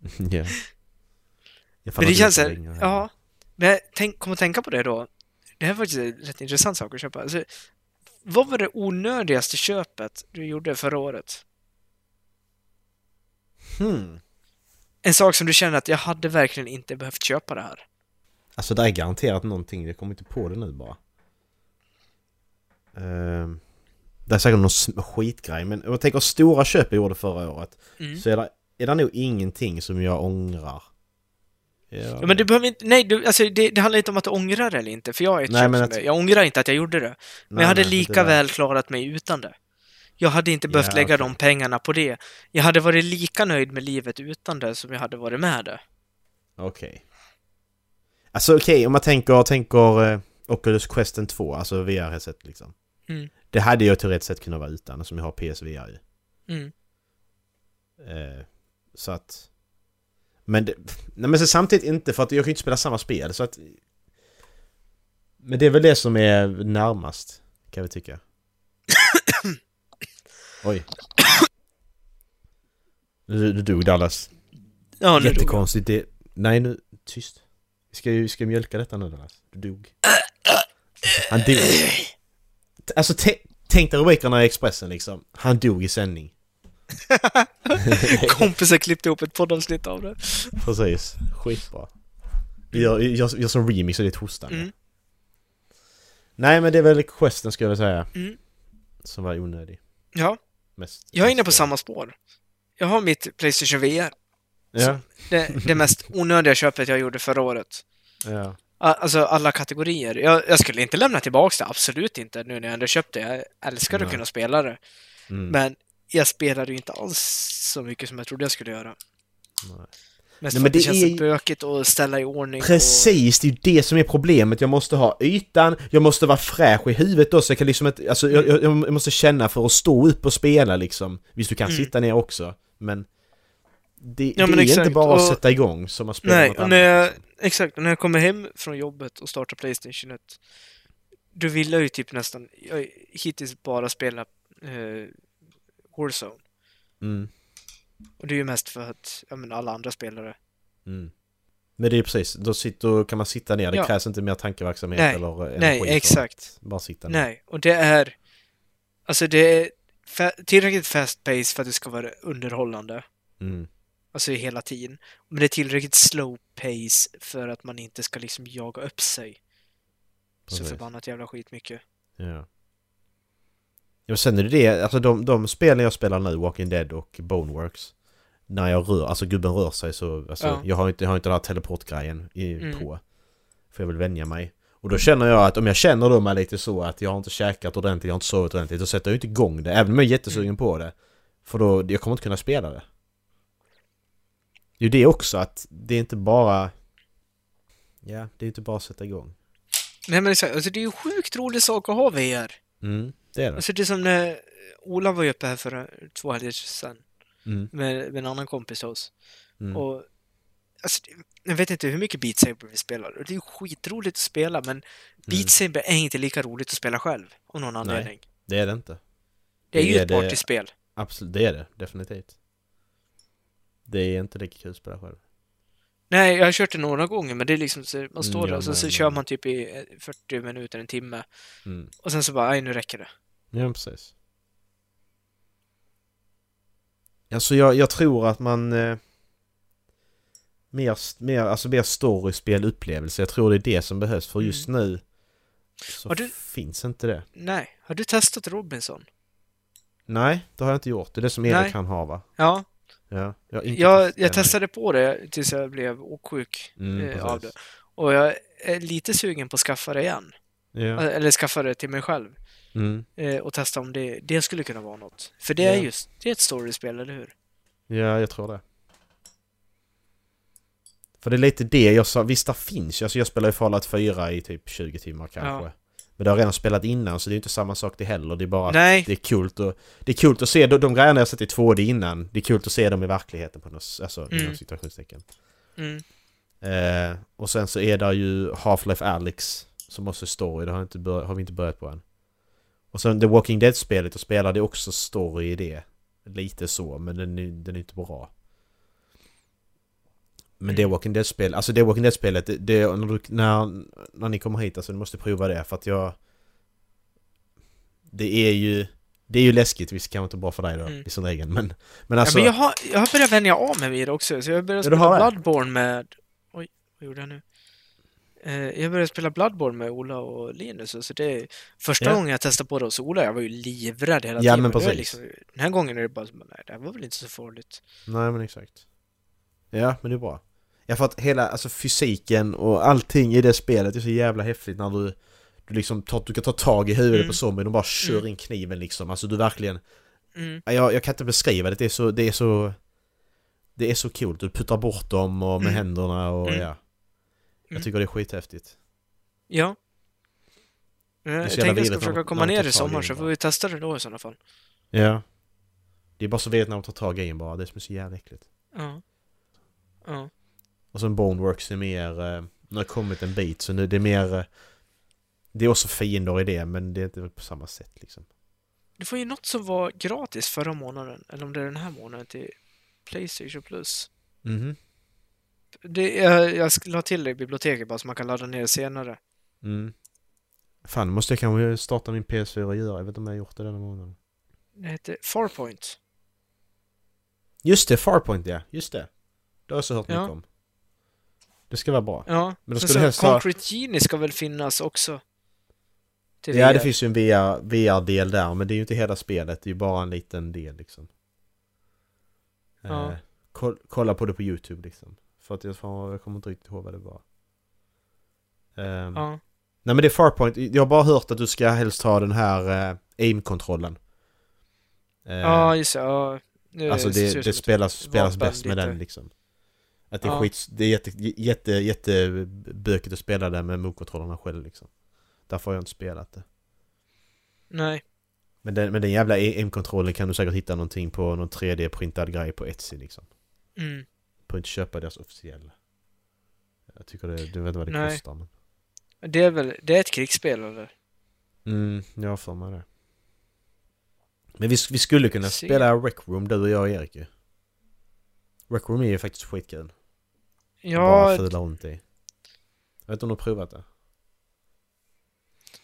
[SPEAKER 4] Ja. Jag
[SPEAKER 3] Men
[SPEAKER 4] fattar
[SPEAKER 3] det
[SPEAKER 4] inte
[SPEAKER 3] känns
[SPEAKER 4] hur
[SPEAKER 3] såhär,
[SPEAKER 4] länge-
[SPEAKER 3] ja. Men jag tänk, kom att tänka på det då. Det här var faktiskt en rätt intressant sak att köpa. Alltså, vad var det onödigaste köpet du gjorde förra året?
[SPEAKER 4] Hmm.
[SPEAKER 3] En sak som du känner att jag hade verkligen inte behövt köpa det här.
[SPEAKER 4] Alltså det är garanterat någonting, jag kommer inte på det nu bara. Ehm, det är säkert någon sm- skitgrej, men om jag tänker stora köp jag gjorde förra året
[SPEAKER 3] Mm.
[SPEAKER 4] så är det, är det nog ingenting som jag ångrar.
[SPEAKER 3] Ja, men du behöver inte, nej, du, alltså, det, det handlar inte om att du ångrar eller inte, för jag är ett
[SPEAKER 4] Nej,
[SPEAKER 3] köp
[SPEAKER 4] men
[SPEAKER 3] som
[SPEAKER 4] att-
[SPEAKER 3] är- Jag ångrar inte att jag gjorde det, men jag hade lika väl klarat mig utan det. Jag hade inte behövt
[SPEAKER 4] Ja,
[SPEAKER 3] lägga
[SPEAKER 4] okej.
[SPEAKER 3] de pengarna på det. Jag hade varit lika nöjd med livet utan det som jag hade varit med det.
[SPEAKER 4] Okej. Alltså okej, om man tänker, tänker eh, Oculus Questen 2, alltså VR-headset liksom.
[SPEAKER 3] Mm.
[SPEAKER 4] Det hade jag teoretiskt sett kunnat vara utan, som jag har PSVR ju.
[SPEAKER 3] Mm.
[SPEAKER 4] Eh, så att... Men, det, nej, men så samtidigt inte, för att jag kan ju inte spela samma spel. Så att, men det är väl det som är närmast, kan vi tycka.
[SPEAKER 3] *coughs*
[SPEAKER 4] Oj. Nu nu dog Dallas.
[SPEAKER 3] Ja, nu dog jag.
[SPEAKER 4] Jättekonstigt. Det, nej, nu... Tyst. Vi ska ju vi ska mjölka detta nu, Dallas. Du dog. Han dog. T- Alltså, tä- tänk dig rubrikerna i Expressen liksom. Han dog i sändning.
[SPEAKER 3] Kompisar klippte ihop ett poddavsnitt av det.
[SPEAKER 4] Precis, skitbra. Vi gör, gör, gör som remix och det är ett hostande.
[SPEAKER 3] Mm.
[SPEAKER 4] Nej men det är väl questen skulle jag säga.
[SPEAKER 3] Mm.
[SPEAKER 4] Som var onödig.
[SPEAKER 3] Ja,
[SPEAKER 4] Mest.
[SPEAKER 3] jag är inne på
[SPEAKER 4] mest-
[SPEAKER 3] samma spår. Jag har mitt Playstation VR,
[SPEAKER 4] Ja,
[SPEAKER 3] det, det
[SPEAKER 4] *laughs*
[SPEAKER 3] mest onödiga köpet jag gjorde förra året.
[SPEAKER 4] ja.
[SPEAKER 3] A- Alltså alla kategorier. Jag, jag skulle inte lämna tillbaks det, absolut inte, nu när jag ändå köpt det. Jag älskar att
[SPEAKER 4] Nej.
[SPEAKER 3] kunna spela det.
[SPEAKER 4] Mm.
[SPEAKER 3] Men jag spelade ju inte alls så mycket som jag trodde jag skulle göra.
[SPEAKER 4] Nej.
[SPEAKER 3] Mest
[SPEAKER 4] Nej,
[SPEAKER 3] för
[SPEAKER 4] men
[SPEAKER 3] att det,
[SPEAKER 4] det
[SPEAKER 3] känns
[SPEAKER 4] är
[SPEAKER 3] så
[SPEAKER 4] ju-
[SPEAKER 3] bökigt att ställa i ordning.
[SPEAKER 4] Precis, det är ju det som är problemet. Jag måste ha ytan, jag måste vara fräsch i huvudet då så jag kan liksom inte, alltså jag, jag, jag måste känna för att stå upp och spela liksom. Visst du kan
[SPEAKER 3] Mm.
[SPEAKER 4] sitta ner också, men det,
[SPEAKER 3] Ja, men
[SPEAKER 4] det är
[SPEAKER 3] exakt,
[SPEAKER 4] inte bara att
[SPEAKER 3] och-
[SPEAKER 4] sätta igång som man
[SPEAKER 3] Och,
[SPEAKER 4] spelar
[SPEAKER 3] nej,
[SPEAKER 4] något
[SPEAKER 3] och när jag,
[SPEAKER 4] annat. liksom.
[SPEAKER 3] exakt. Och när jag kommer hem från jobbet och startar Playstation 1, då vill jag ju typ nästan, jag har hittills bara spela eh, Warzone.
[SPEAKER 4] Mm,
[SPEAKER 3] Och det är ju mest för att, ja men alla andra spelare.
[SPEAKER 4] mm. Men det är precis, då, sitter, då kan man sitta ner, det
[SPEAKER 3] Ja.
[SPEAKER 4] krävs inte mer tankeverksamhet
[SPEAKER 3] Nej,
[SPEAKER 4] eller energi.
[SPEAKER 3] nej,
[SPEAKER 4] för
[SPEAKER 3] exakt.
[SPEAKER 4] att Bara sitta ner.
[SPEAKER 3] Nej, och det är, alltså det är fa- tillräckligt fast pace för att det ska vara underhållande.
[SPEAKER 4] Mm.
[SPEAKER 3] Alltså hela tiden. Men det är tillräckligt slow pace för att man inte ska liksom jaga upp sig
[SPEAKER 4] Precis.
[SPEAKER 3] så förbannat jävla skitmycket.
[SPEAKER 4] Ja. Ja, sen är det det, alltså de, de spelen jag spelar nu, Walking Dead och Boneworks, när jag rör, alltså gubben rör sig så, alltså,
[SPEAKER 3] Ja.
[SPEAKER 4] jag, har inte, jag har inte den här teleportgrejen i,
[SPEAKER 3] Mm.
[SPEAKER 4] på. För jag vill vänja mig. Och då känner jag att om jag känner då
[SPEAKER 3] Mm.
[SPEAKER 4] mig lite så att jag har inte käkat ordentligt, jag har inte sovit ordentligt, då sätter jag ju inte igång det, även om jag är jättesugen på det. För då, jag kommer inte kunna spela det. Det är ju det också att det är inte bara... Ja, det är inte bara att sätta igång.
[SPEAKER 3] Nej men exakt, alltså det är ju sjukt rolig sak att ha VR.
[SPEAKER 4] Mm, det är det.
[SPEAKER 3] Alltså det är som när Ola var ju uppe här för eh, två helger sedan
[SPEAKER 4] Mm,
[SPEAKER 3] med, med en annan kompis till oss.
[SPEAKER 4] mm.
[SPEAKER 3] Och alltså, det- jag vet inte hur mycket Beat Saber vi spelar och det är ju skitroligt att spela men
[SPEAKER 4] Mm.
[SPEAKER 3] Beat Saber är inte lika roligt att spela själv av någon anledning.
[SPEAKER 4] Det är det inte.
[SPEAKER 3] Det är
[SPEAKER 4] Det
[SPEAKER 3] ju
[SPEAKER 4] är
[SPEAKER 3] ett
[SPEAKER 4] det-
[SPEAKER 3] partyspel.
[SPEAKER 4] Absolut, det är det. Definitivt. Det är inte lika kul att spela själv.
[SPEAKER 3] Nej, jag har kört det några gånger men det är liksom så, man står
[SPEAKER 4] Mm,
[SPEAKER 3] där
[SPEAKER 4] ja,
[SPEAKER 3] och så,
[SPEAKER 4] men-
[SPEAKER 3] så kör man typ i eh, 40 minuter, en timme
[SPEAKER 4] Mm.
[SPEAKER 3] och sen så bara, nej nu räcker det.
[SPEAKER 4] Ja, precis. Alltså jag, jag tror att man... Eh, mer, mer, alltså mer storyspel, upplevelse. Jag tror det är det som behövs för just nu så
[SPEAKER 3] Mm. Har du-
[SPEAKER 4] finns inte det.
[SPEAKER 3] Nej, har du testat Robinson?
[SPEAKER 4] Nej, det har jag inte gjort. Det är det som
[SPEAKER 3] Nej.
[SPEAKER 4] Erik kan ha va?
[SPEAKER 3] Ja,
[SPEAKER 4] Ja, jag, har inte
[SPEAKER 3] jag,
[SPEAKER 4] testat
[SPEAKER 3] jag
[SPEAKER 4] det, nej.
[SPEAKER 3] testade på det tills jag blev åksjuk
[SPEAKER 4] Mm,
[SPEAKER 3] eh, av det.
[SPEAKER 4] precis.
[SPEAKER 3] Och jag är lite sugen på att skaffa det Alltså- igen. Eh,
[SPEAKER 4] Ja.
[SPEAKER 3] Eller skaffa det till mig själv
[SPEAKER 4] Mm.
[SPEAKER 3] eh, och testa om det, det skulle kunna vara något. För det är
[SPEAKER 4] Ja.
[SPEAKER 3] just, det är ett storyspel, eller hur?
[SPEAKER 4] ja, jag tror det. För det är lite det jag sa. Visst, det finns ju. Alltså jag spelar ju Fallout 4 i typ 20 timmar kanske. Men det har jag redan spelat innan så det är ju inte samma sak det heller. Det är bara att
[SPEAKER 3] Nej,
[SPEAKER 4] det är kul att, det är kul att se de, de grejerna jag sett i 2D innan. Det är kul att se dem i verkligheten på något s- alltså
[SPEAKER 3] Mm.
[SPEAKER 4] inom situationstecken.
[SPEAKER 3] mm,
[SPEAKER 4] Eh, och sen så är det ju Half-Life Alyx som också är story. Det har, inte bör, har vi inte börjat på än. Och sen The Walking Dead-spelet, och spelar det också story i det. Lite så, men den, är- den är inte bra. Men det
[SPEAKER 3] Mm.
[SPEAKER 4] Walking Dead-spelet, alltså det Walking Dead-spelet, det, det, när, du, när, när ni kommer hit alltså, ni måste prova det för att jag... Det är ju... Det är ju läskigt, visst kanske inte bra för dig då,
[SPEAKER 3] Mm.
[SPEAKER 4] i sin egen, men... Men alltså...
[SPEAKER 3] ja, men jag har, jag har börjat vänja av mig vid det också, så jag började
[SPEAKER 4] Ja, du har
[SPEAKER 3] spela
[SPEAKER 4] det.
[SPEAKER 3] Bloodborne med... Oj, vad gjorde jag nu? Eh, jag började spela Bloodborne med Ola och Linus, så det är första
[SPEAKER 4] Ja.
[SPEAKER 3] gången jag testade på det hos Ola, jag var ju livrädd hela
[SPEAKER 4] Ja,
[SPEAKER 3] tiden.
[SPEAKER 4] men
[SPEAKER 3] Nu är jag
[SPEAKER 4] precis.
[SPEAKER 3] Liksom, den här gången är det bara så, nej, det här var väl inte så farligt.
[SPEAKER 4] Nej men exakt. Ja men det är bra. Ja för att hela alltså, fysiken och allting i det spelet är så jävla häftigt när du, du liksom tar, du kan ta tag i huvudet
[SPEAKER 3] Mm.
[SPEAKER 4] på zombien och bara kör
[SPEAKER 3] Mm.
[SPEAKER 4] in kniven liksom. Alltså du verkligen,
[SPEAKER 3] Mm,
[SPEAKER 4] ja, jag, jag kan inte beskriva det, det är så, det är så det är så kul, du puttar bort dem och med
[SPEAKER 3] Mm.
[SPEAKER 4] händerna och
[SPEAKER 3] Mm.
[SPEAKER 4] ja. Jag
[SPEAKER 3] Mm.
[SPEAKER 4] tycker det är skithäftigt.
[SPEAKER 3] ja. Eh, Jag
[SPEAKER 4] jävla
[SPEAKER 3] tänkte jag ska
[SPEAKER 4] virrigt när
[SPEAKER 3] försöka
[SPEAKER 4] de-
[SPEAKER 3] komma
[SPEAKER 4] när de
[SPEAKER 3] ner
[SPEAKER 4] tar
[SPEAKER 3] i
[SPEAKER 4] tag i
[SPEAKER 3] sommar,
[SPEAKER 4] det
[SPEAKER 3] så
[SPEAKER 4] bara.
[SPEAKER 3] får vi testa det då i sådana fall.
[SPEAKER 4] Ja. Det är bara så vet när de tar tag i en bara, det är som är så jävla äckligt.
[SPEAKER 3] Ja. Ja.
[SPEAKER 4] Och sen Boneworks är mer... eh, Nu har jag kommit en bit så nu det är mer... eh, Det är också fiender i det men det är inte på samma sätt liksom.
[SPEAKER 3] Det var ju något som var gratis förra månaden, eller om det är den här månaden, till Playstation Plus.
[SPEAKER 4] Mhm.
[SPEAKER 3] Det, jag, jag sk- la till det i biblioteket bara så man kan ladda ner det senare.
[SPEAKER 4] Mm. Fan, nu måste jag kanske starta min PS4 och göra. Jag vet inte om jag har gjort det denna månaden.
[SPEAKER 3] Det hette Farpoint.
[SPEAKER 4] Just det, Farpoint ja. Just det. Det har jag också hört
[SPEAKER 3] Ja.
[SPEAKER 4] mycket om. Det ska vara bra.
[SPEAKER 3] Ja.
[SPEAKER 4] Men då
[SPEAKER 3] sen
[SPEAKER 4] skulle
[SPEAKER 3] så
[SPEAKER 4] helst ha-
[SPEAKER 3] Concrete Genie ska väl finnas också? Till
[SPEAKER 4] Ja,
[SPEAKER 3] VR.
[SPEAKER 4] det finns ju en VR, VR-del där men det är ju inte hela spelet. Det är ju bara en liten del liksom.
[SPEAKER 3] Ja.
[SPEAKER 4] Eh, koll, kolla på det på YouTube liksom. För att jag, fan, jag kommer inte riktigt ihåg vad det var. Ehm,
[SPEAKER 3] Ja.
[SPEAKER 4] Nej men det är Farpoint. Jag har bara hört att du ska helst ha den här eh, aim-kontrollen. Eh,
[SPEAKER 3] ja, just det. Ja. Nu
[SPEAKER 4] alltså
[SPEAKER 3] ser
[SPEAKER 4] det,
[SPEAKER 3] ut som
[SPEAKER 4] det
[SPEAKER 3] ett-
[SPEAKER 4] spelas, spelas
[SPEAKER 3] vapen
[SPEAKER 4] bäst med
[SPEAKER 3] lite.
[SPEAKER 4] den liksom. Att det är
[SPEAKER 3] Ja.
[SPEAKER 4] skits, det är jätte, jätte, jätte bökigt att spela den med move-kontrollerna själv liksom. Därför har jag inte spelat det.
[SPEAKER 3] Nej.
[SPEAKER 4] Men den, men den jävla aim-kontrollen kan du säkert hitta någonting på någon 3D-printad grej på Etsy liksom.
[SPEAKER 3] Mm.
[SPEAKER 4] På inte köpa deras officiella. Jag tycker det, du vet inte vad det
[SPEAKER 3] Nej.
[SPEAKER 4] kostar men.
[SPEAKER 3] Det är väl, det är ett krigsspel eller?
[SPEAKER 4] Mm, jag har för mig det. Men vi, vi skulle kunna
[SPEAKER 3] Se.
[SPEAKER 4] spela Rec Room, du och jag och Erik ju. Rec Room är ju faktiskt skitkul. Bara
[SPEAKER 3] Ja,
[SPEAKER 4] fula ont i. Jag vet inte om du har provat det?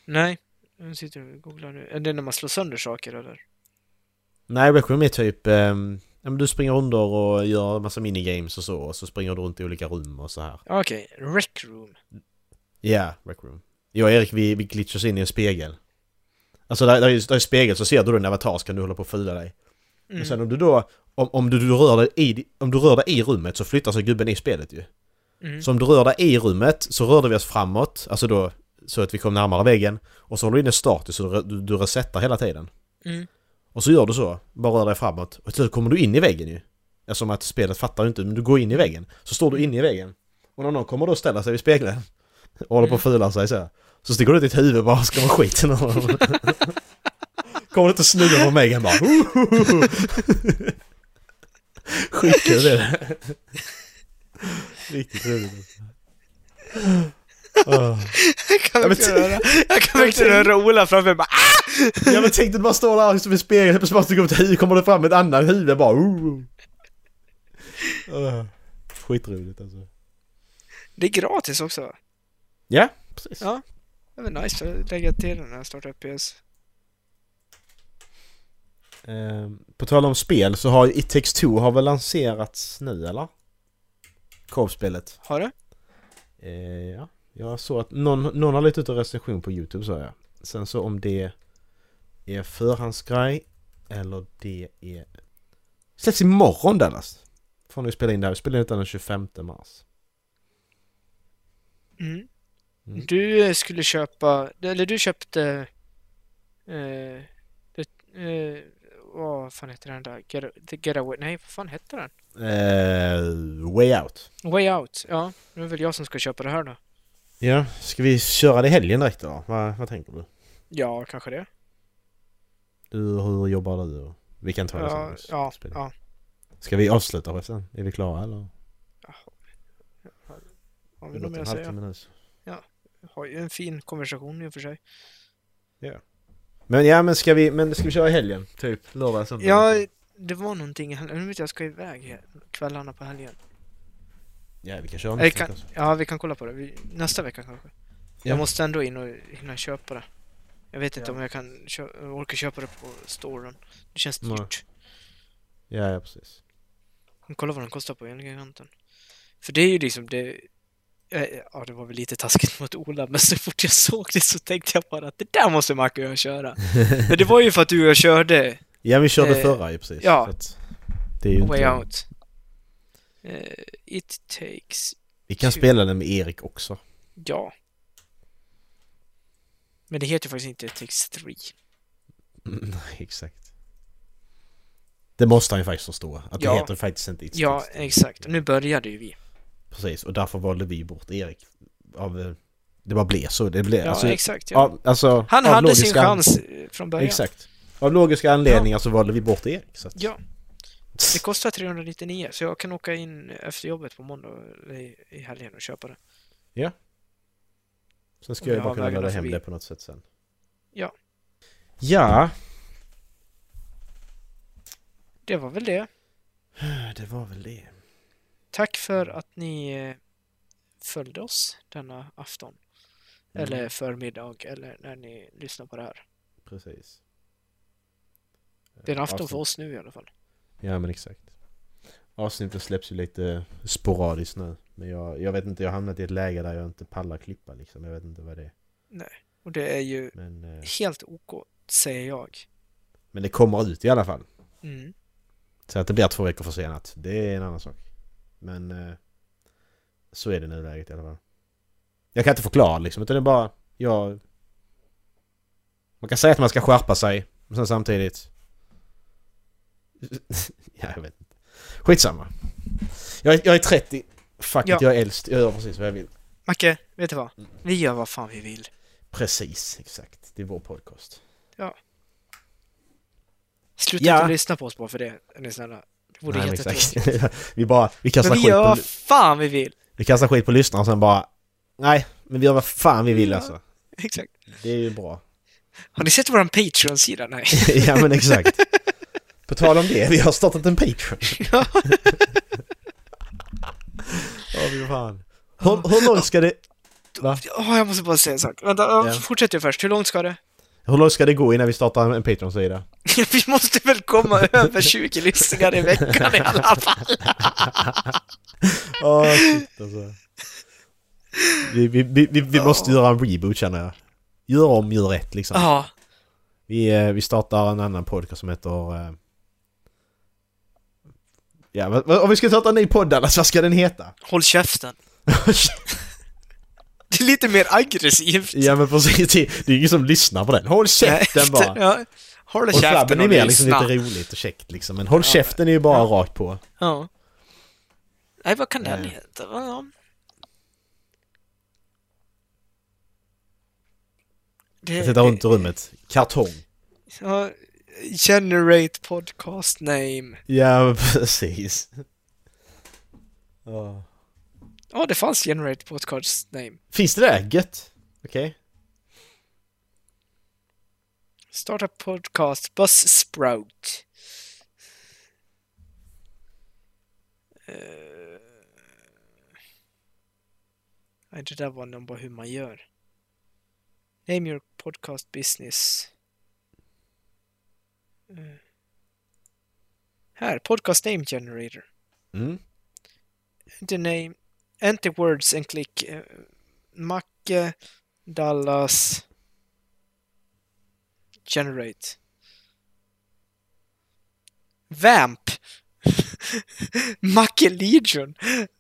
[SPEAKER 3] nej. Nu sitter jag och googlar nu. Är det när man slår sönder saker eller?
[SPEAKER 4] Nej, Rec Room är typ... ehm, ja, men du springer under och gör massa minigames och så, och så springer du runt i olika rum och så här.
[SPEAKER 3] Ja, Okej, Rec Room.
[SPEAKER 4] Ja, Rec Room. Jag och Erik, vi, vi glitchas in i en spegel. Alltså där, där, är, där är spegel, så ser du din avatar så kan du hålla på och fula dig.
[SPEAKER 3] Mm.
[SPEAKER 4] Men sen om du då... Om, om, du, du rör dig i, om du rör dig i rummet så flyttar sig gubben i spelet ju.
[SPEAKER 3] Mm.
[SPEAKER 4] Så om du rör dig i rummet så rörde vi oss framåt, alltså då så att vi kom närmare väggen. Och så håller du inne status så du, du resetar hela tiden.
[SPEAKER 3] Mm.
[SPEAKER 4] Och Och så gör du så, bara rör dig framåt. Och till slut kommer du in i väggen ju. Eftersom att spelet fattar ju inte, men du går in i väggen. Så står
[SPEAKER 3] Mm.
[SPEAKER 4] du inne i väggen. Och när någon kommer då och ställer sig vid spegeln och håller på att
[SPEAKER 3] Mm.
[SPEAKER 4] fula sig så här, Så sticker du ut ditt huvud bara och skrämmer skiten ur honom. Kommer du inte snudda på mig
[SPEAKER 3] *laughs*
[SPEAKER 4] han bara Skitkul är det. Riktigt roligt. Oh.
[SPEAKER 3] *laughs* Jag kan
[SPEAKER 4] Ja, men
[SPEAKER 3] verkligen höra, jag kan verkligen höra Ola framför mig bara "Ah!"
[SPEAKER 4] Ja men tänk dig du bara står där liksom i spegeln, på spart går upp ett huvud, kommer det fram ett annat huvud bara *laughs* oh. Ah, Skitroligt alltså.
[SPEAKER 3] Det är gratis också.
[SPEAKER 4] Ja, precis.
[SPEAKER 3] Ja. Det var nice att lägga till den när jag startar upp PS.
[SPEAKER 4] Eh, på tal om spel så har ju It takes two har väl lanserats nu eller? Korpspelet.
[SPEAKER 3] Har du?
[SPEAKER 4] Eh, ja. Jag såg att någon, någon har lagt ut en recension på YouTube sa jag. Sen så om det är förhandsgrej eller det är... Släpps imorgon Dallas! Får ni spela in det här. Vi spelar in det den 25 mars.
[SPEAKER 3] Mm.
[SPEAKER 4] Mm.
[SPEAKER 3] Du eh, skulle köpa, eller du köpte... Eh, det, eh, vad fan heter den där? Get, the Getaway? Nej, vad fan hette den?
[SPEAKER 4] Eh, way out.
[SPEAKER 3] Way Out. Ja, nu är väl jag som ska köpa det här då.
[SPEAKER 4] Ja, ska vi köra det i helgen direkt då? Vad, vad tänker du?
[SPEAKER 3] Ja, kanske det.
[SPEAKER 4] du? Hur jobbar du? Vi kan ta det sen.
[SPEAKER 3] Ja,
[SPEAKER 4] också.
[SPEAKER 3] ja,
[SPEAKER 4] Spela.
[SPEAKER 3] ja.
[SPEAKER 4] Ska vi avsluta på sen? Är vi klara eller?
[SPEAKER 3] Har vi något
[SPEAKER 4] Det låter
[SPEAKER 3] mer
[SPEAKER 4] en
[SPEAKER 3] att säga?
[SPEAKER 4] halvtimme nu. så.
[SPEAKER 3] Har ju en fin konversation i och för sig.
[SPEAKER 4] Men ja, men ska vi, men ska vi köra i helgen? Typ lördag, söndag?
[SPEAKER 3] Ja, det var någonting i helgen. Nu vet jag, jag ska iväg här kvällarna på helgen.
[SPEAKER 4] Ja, vi kan köra
[SPEAKER 3] Jag
[SPEAKER 4] nästa
[SPEAKER 3] kan,
[SPEAKER 4] vecka också.
[SPEAKER 3] ja, vi kan kolla på det. Vi, nästa vecka kanske.
[SPEAKER 4] Ja.
[SPEAKER 3] Jag måste ändå in och hinna köpa det. Jag vet inte
[SPEAKER 4] Ja.
[SPEAKER 3] om jag kan kö orka köpa det på storen. Det känns
[SPEAKER 4] Nej.
[SPEAKER 3] dyrt.
[SPEAKER 4] Ja, ja, precis.
[SPEAKER 3] Men Kolla vad den kostar på Elgiganten. För det är ju liksom det... eh, Ja, det var väl lite taskigt *laughs* mot Ola, men så fort jag såg det så tänkte jag bara att det där måste Marco och jag köra.
[SPEAKER 4] *laughs*
[SPEAKER 3] Men det var ju för att du och jag körde
[SPEAKER 4] Ja, vi körde
[SPEAKER 3] Eh,
[SPEAKER 4] förra ju precis.
[SPEAKER 3] ja.
[SPEAKER 4] så att Det är ju
[SPEAKER 3] Way
[SPEAKER 4] inte...
[SPEAKER 3] Out. Eh, it takes
[SPEAKER 4] Vi kan spela den med Erik också.
[SPEAKER 3] Ja. Men det heter ju faktiskt inte Text 3.
[SPEAKER 4] Mm, *laughs* Nej, exakt. Det måste han ju faktiskt förstå. Att
[SPEAKER 3] Ja.
[SPEAKER 4] det heter faktiskt inte It's
[SPEAKER 3] Ja,
[SPEAKER 4] Text.
[SPEAKER 3] exakt. Och nu började ju vi.
[SPEAKER 4] Precis, och därför valde vi bort Erik. Av, eh, det bara blev så. Det blev,
[SPEAKER 3] Ja,
[SPEAKER 4] alltså,
[SPEAKER 3] exakt. Ja.
[SPEAKER 4] av, alltså,
[SPEAKER 3] Han
[SPEAKER 4] av
[SPEAKER 3] hade sin
[SPEAKER 4] logiska an-
[SPEAKER 3] chans eh, från början.
[SPEAKER 4] Exakt. Av logiska anledningar så valde vi bort Erik. Så att,
[SPEAKER 3] Ja. Det kostar 399, så jag kan åka in efter jobbet på måndag eller i- i helgen och köpa det.
[SPEAKER 4] Sen ska
[SPEAKER 3] Om
[SPEAKER 4] jag
[SPEAKER 3] jag
[SPEAKER 4] bara
[SPEAKER 3] har
[SPEAKER 4] kunna
[SPEAKER 3] vägarna
[SPEAKER 4] ladda hem
[SPEAKER 3] förbi.
[SPEAKER 4] det på något sätt sen.
[SPEAKER 3] Ja.
[SPEAKER 4] Ja,
[SPEAKER 3] Det var väl det.
[SPEAKER 4] det var väl det. Mm,
[SPEAKER 3] Tack för att ni eh, följde oss denna afton.
[SPEAKER 4] Mm,
[SPEAKER 3] Eller förmiddag, eller när ni lyssnar på det här.
[SPEAKER 4] Precis.
[SPEAKER 3] Det är en afton
[SPEAKER 4] Avsnitt-
[SPEAKER 3] för oss nu i alla fall.
[SPEAKER 4] Ja, men exakt. Avsnittet släpps ju lite sporadiskt nu. Men jag, jag vet inte, jag har hamnat i ett läge där jag inte pallar klippa liksom. Jag vet inte vad det är.
[SPEAKER 3] Och det är ju
[SPEAKER 4] Men, eh,
[SPEAKER 3] helt OK, säger jag.
[SPEAKER 4] men det kommer ut i alla fall.
[SPEAKER 3] Mm.
[SPEAKER 4] Så att det blir två veckor försenat, det är en annan sak. Men eh, så är det i nuläget i alla fall. Jag kan inte förklara liksom, utan det är bara, jag... Man kan säga att man ska skärpa sig, men sen samtidigt... *laughs* ja, jag vet inte. Skitsamma. Jag är, jag är 30. Fuck
[SPEAKER 3] Ja.
[SPEAKER 4] it, jag är äldst. Jag gör precis vad jag vill.
[SPEAKER 3] Macke, vet du vad?
[SPEAKER 4] Mm.
[SPEAKER 3] Vi gör vad fan vi vill.
[SPEAKER 4] Precis, exakt. Det är vår podcast.
[SPEAKER 3] Sluta
[SPEAKER 4] Ja.
[SPEAKER 3] inte lyssna på oss bara för det, är ni snälla. Det vore
[SPEAKER 4] Nej, men
[SPEAKER 3] jättetråkigt.
[SPEAKER 4] exakt. *laughs* vi bara, vi kastar
[SPEAKER 3] Men vi
[SPEAKER 4] skit
[SPEAKER 3] gör
[SPEAKER 4] på...
[SPEAKER 3] vad fan vi vill!
[SPEAKER 4] Vi kastar skit på lyssnarna och sen bara... Nej, men vi gör vad fan vi vill
[SPEAKER 3] Ja.
[SPEAKER 4] alltså.
[SPEAKER 3] Exakt.
[SPEAKER 4] Det är ju bra.
[SPEAKER 3] Har ni sett våran Patreon-sida? Nej.
[SPEAKER 4] *laughs* ja men exakt. På tal om det, vi har startat en Patreon. *laughs*
[SPEAKER 3] Ja.
[SPEAKER 4] Åh fy fan. Hur, hur långt ska det... Va?
[SPEAKER 3] Åh, jag måste bara säga en sak. Vänta, ja.
[SPEAKER 4] Ja.
[SPEAKER 3] fortsätt du först. Hur långt ska det? *laughs*
[SPEAKER 4] Hur långt ska det gå innan vi startar en Patreon-sida?
[SPEAKER 3] Vi måste väl komma över 20 lyssningar i veckan i alla fall?
[SPEAKER 4] *laughs* Åh shit alltså. Vi, vi, vi, vi, vi måste göra en reboot känner jag. Gör om, gör rätt liksom.
[SPEAKER 3] Ja.
[SPEAKER 4] Vi, eh, vi startar en annan podcast som heter... eh, Ja, vad- vad- om vi ska starta en ny podd Dallas, vad ska den *laughs* heta?
[SPEAKER 3] Håll käften. Det är lite mer aggressivt. *laughs*
[SPEAKER 4] ja men precis, det det är ju ingen som lyssnar på den. Håll käften bara!
[SPEAKER 3] Ja. Håll
[SPEAKER 4] Och
[SPEAKER 3] käften
[SPEAKER 4] flabben är
[SPEAKER 3] och
[SPEAKER 4] mer
[SPEAKER 3] lyssna.
[SPEAKER 4] liksom lite roligt och käckt liksom. Men håll käften är ju bara rakt på.
[SPEAKER 3] Ja. Nej, vad kan den
[SPEAKER 4] Nej.
[SPEAKER 3] heta? Vad- ja. Det,
[SPEAKER 4] Jag tittar runt i rummet. Kartong.
[SPEAKER 3] Ja, generate podcast name.
[SPEAKER 4] Ja, *laughs* precis. Ja.
[SPEAKER 3] Ja, det fanns generate podcast name.
[SPEAKER 4] Finns det där? Gött. Okej.
[SPEAKER 3] Starta podcast Buzzsprout. Eh, Nej, det där var nog bara hur man gör. Name your podcast business. Eh, Här, podcast name generator.
[SPEAKER 4] Mm.
[SPEAKER 3] Enter name, enter words and click eh, Macke, Dallas, generate. Vamp! *laughs* Macke Legion!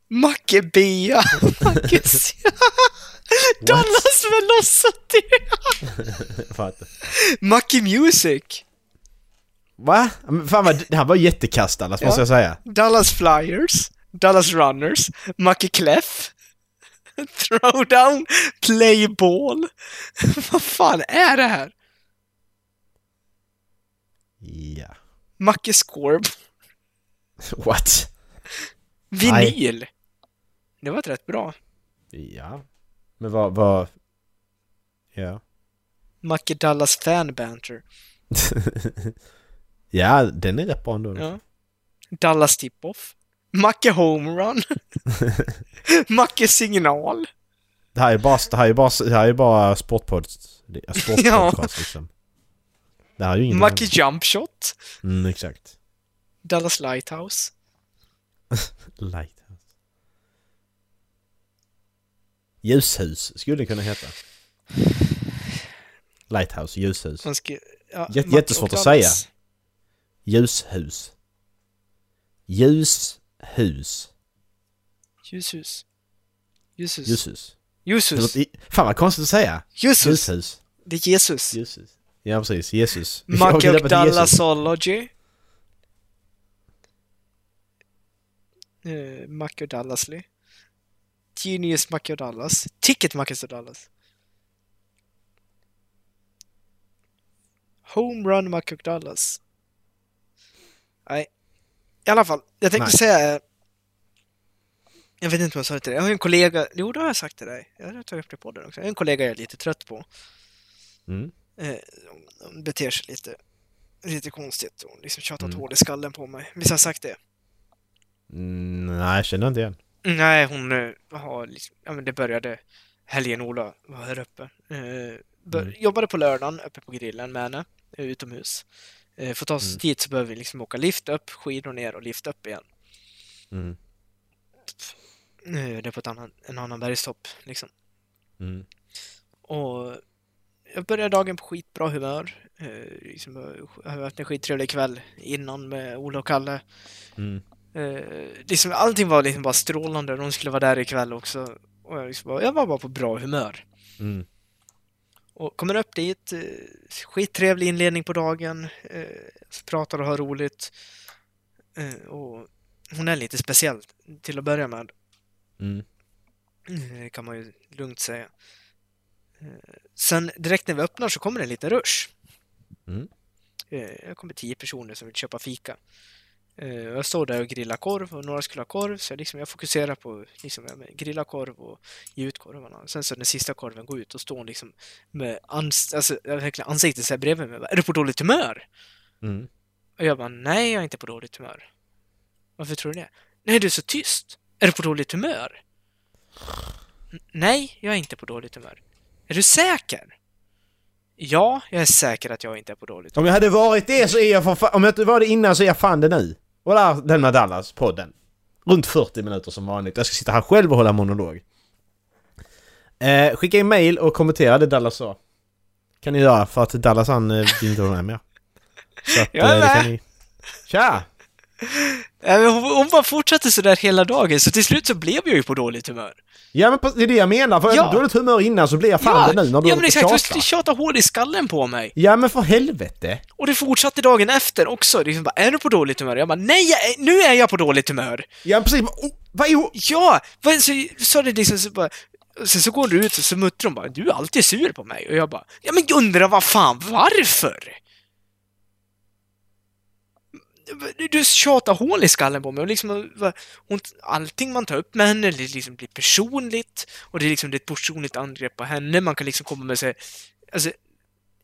[SPEAKER 3] Macke Bea! *laughs* Macke C- *laughs*
[SPEAKER 4] *laughs*
[SPEAKER 3] Dallas Velocity!
[SPEAKER 4] Fattar.
[SPEAKER 3] Macke Music!
[SPEAKER 4] Va? Men fan vad, det här var jättekast Dallas, måste jag säga.
[SPEAKER 3] Dallas Flyers, Dallas Runners, Mackie Clef, *laughs* Throwdown, Playball. *laughs* Vad fan är det här?
[SPEAKER 4] Ja. *laughs*
[SPEAKER 3] Mackie Scorb,
[SPEAKER 4] What?
[SPEAKER 3] Vinyl. Det var ett rätt bra.
[SPEAKER 4] Ja. Men vad, vad... Ja.
[SPEAKER 3] Mackie Dallas Fan Banter.
[SPEAKER 4] ja, den är rätt bra ändå.
[SPEAKER 3] Ja. Dallas Tip-Off. Mackie
[SPEAKER 4] *laughs*
[SPEAKER 3] Homerun. Mackie Signal.
[SPEAKER 4] Det här är bara, det här är bara, det här är
[SPEAKER 3] *laughs*
[SPEAKER 4] bara sportpod, det är sportpodcast liksom. Det här är ju ingen
[SPEAKER 3] Mackie Jump Shot.
[SPEAKER 4] Mm, exakt.
[SPEAKER 3] Dallas Lighthouse.
[SPEAKER 4] Lighthouse. Ljushus skulle det kunna heta. Lighthouse, ljushus.
[SPEAKER 3] Man ska- ja,
[SPEAKER 4] Jätte-
[SPEAKER 3] Mackie
[SPEAKER 4] jättesvårt
[SPEAKER 3] och
[SPEAKER 4] att säga.
[SPEAKER 3] Dallas.
[SPEAKER 4] Ljushus. Ljushus.
[SPEAKER 3] Ljushus. Ljushus.
[SPEAKER 4] Ljushus. Det
[SPEAKER 3] Ljushus.
[SPEAKER 4] låter- Fan vad konstigt att säga.
[SPEAKER 3] Jesus.
[SPEAKER 4] Ljushus.
[SPEAKER 3] Det är Jesus.
[SPEAKER 4] Ljushus. Ja precis, Jesus. *laughs* Vi har
[SPEAKER 3] Macke
[SPEAKER 4] glömt
[SPEAKER 3] och
[SPEAKER 4] att det är Jesus.
[SPEAKER 3] Dallasology. Uh, Macke och Dallasly. Genius Macke och Dallas. Ticket Macke och Dallas. Homerun Macke och Dallas. Nej. I alla fall, jag tänkte
[SPEAKER 4] Nej.
[SPEAKER 3] säga... Jag vet inte om jag sa det till dig. Jag har ju en kollega... Jo, det har jag sagt till dig. Jag har tagit upp det i podden också. Jag har en kollega jag är lite trött på.
[SPEAKER 4] Mm.
[SPEAKER 3] Eh, de- de beter sig lite, lite konstigt och liksom tjatat
[SPEAKER 4] Mm.
[SPEAKER 3] hål i skallen på mig. Visst har jag sagt det?
[SPEAKER 4] Mm, nej, jag känner inte igen.
[SPEAKER 3] Nej, hon eh, har liksom, ja men det började helgen Ola var här uppe. Eh, bör,
[SPEAKER 4] Mm.
[SPEAKER 3] Jobbade på lördagen uppe på grillen med henne, eh, utomhus. Eh, för att ta oss
[SPEAKER 4] Mm.
[SPEAKER 3] dit så behöver vi liksom åka lift upp, skidor ner och lift upp igen.
[SPEAKER 4] Mm.
[SPEAKER 3] Eh, det är på ett annan, en annan bergstopp liksom.
[SPEAKER 4] Mm.
[SPEAKER 3] Och jag började dagen på skitbra humör. Eh, liksom, eh, har haft en skittrevlig kväll innan med Ola och Kalle.
[SPEAKER 4] Mm.
[SPEAKER 3] Eh, liksom, allting var liksom bara strålande. De skulle vara där ikväll också. Och jag, liksom bara, jag var bara på bra humör.
[SPEAKER 4] Mm.
[SPEAKER 3] Och kommer upp dit, eh, skittrevlig inledning på dagen. Eh, pratar och har roligt. Eh, och hon är lite speciell till att börja med.
[SPEAKER 4] Mm.
[SPEAKER 3] Eh, kan man ju lugnt säga. Eh, Sen direkt när vi öppnar så kommer det en liten rush.
[SPEAKER 4] Mm.
[SPEAKER 3] Eh, Det kommer tio personer som vill köpa fika. Eh, Jag står där och grillar korv och några skulle ha korv så jag, liksom, jag fokuserar på liksom, ja, men grilla korv och ge ut korvarna. Sen så när sista korven går ut och står hon liksom med ans- alltså, jag har verkligen ansiktet så här bredvid mig. Bara, Är du på dåligt humör?
[SPEAKER 4] Mm.
[SPEAKER 3] Och jag bara, nej jag är inte på dåligt humör. Varför tror du det? Nej, du är så tyst. Är du på dåligt humör? "N- Nej, jag är inte på dåligt humör. Är du säker? Ja, jag är säker att jag inte är på dåligt humör.
[SPEAKER 4] Om jag hade varit det så är jag för fa- Om jag inte var det innan så är jag fan det nu. Och där, den med Dallas-podden. Runt 40 minuter som vanligt. Jag ska sitta här själv och hålla monolog. Eh, skicka in mail och kommentera det Dallas sa. Kan ni göra för att Dallas han eh, vill inte vara med mer. Så att,
[SPEAKER 3] Jag är
[SPEAKER 4] eh, det
[SPEAKER 3] med.
[SPEAKER 4] kan ni... Tja!
[SPEAKER 3] Nej, men Äh, Hon, hon bara fortsatte sådär hela dagen, så till slut så blev jag ju på dåligt humör.
[SPEAKER 4] Ja men precis, det är det jag menar, för
[SPEAKER 3] Ja.
[SPEAKER 4] ja. dåligt humör innan så blir jag fan det nu när du
[SPEAKER 3] ja
[SPEAKER 4] ja,
[SPEAKER 3] men exakt,
[SPEAKER 4] tjatar.
[SPEAKER 3] du tjatar hål i skallen på mig.
[SPEAKER 4] Ja men för helvete!
[SPEAKER 3] Och det fortsatte dagen efter också. Det är liksom bara, är du på dåligt humör? Jag bara, nej, jag är, nu är jag på dåligt humör!
[SPEAKER 4] Ja men precis, oh, vad är hon?
[SPEAKER 3] Ja! vad- Så, så är det liksom så bara, sen så går du ut och så muttrar hon bara, du är alltid sur på mig. Och jag bara, ja men jag undrar vad fan varför? Du- Du tjatar hål i skallen på mig och liksom, va- hon, allting man tar upp med henne det liksom blir personligt och det är liksom det är ett personligt angrepp på henne. Man kan liksom komma med sig, alltså,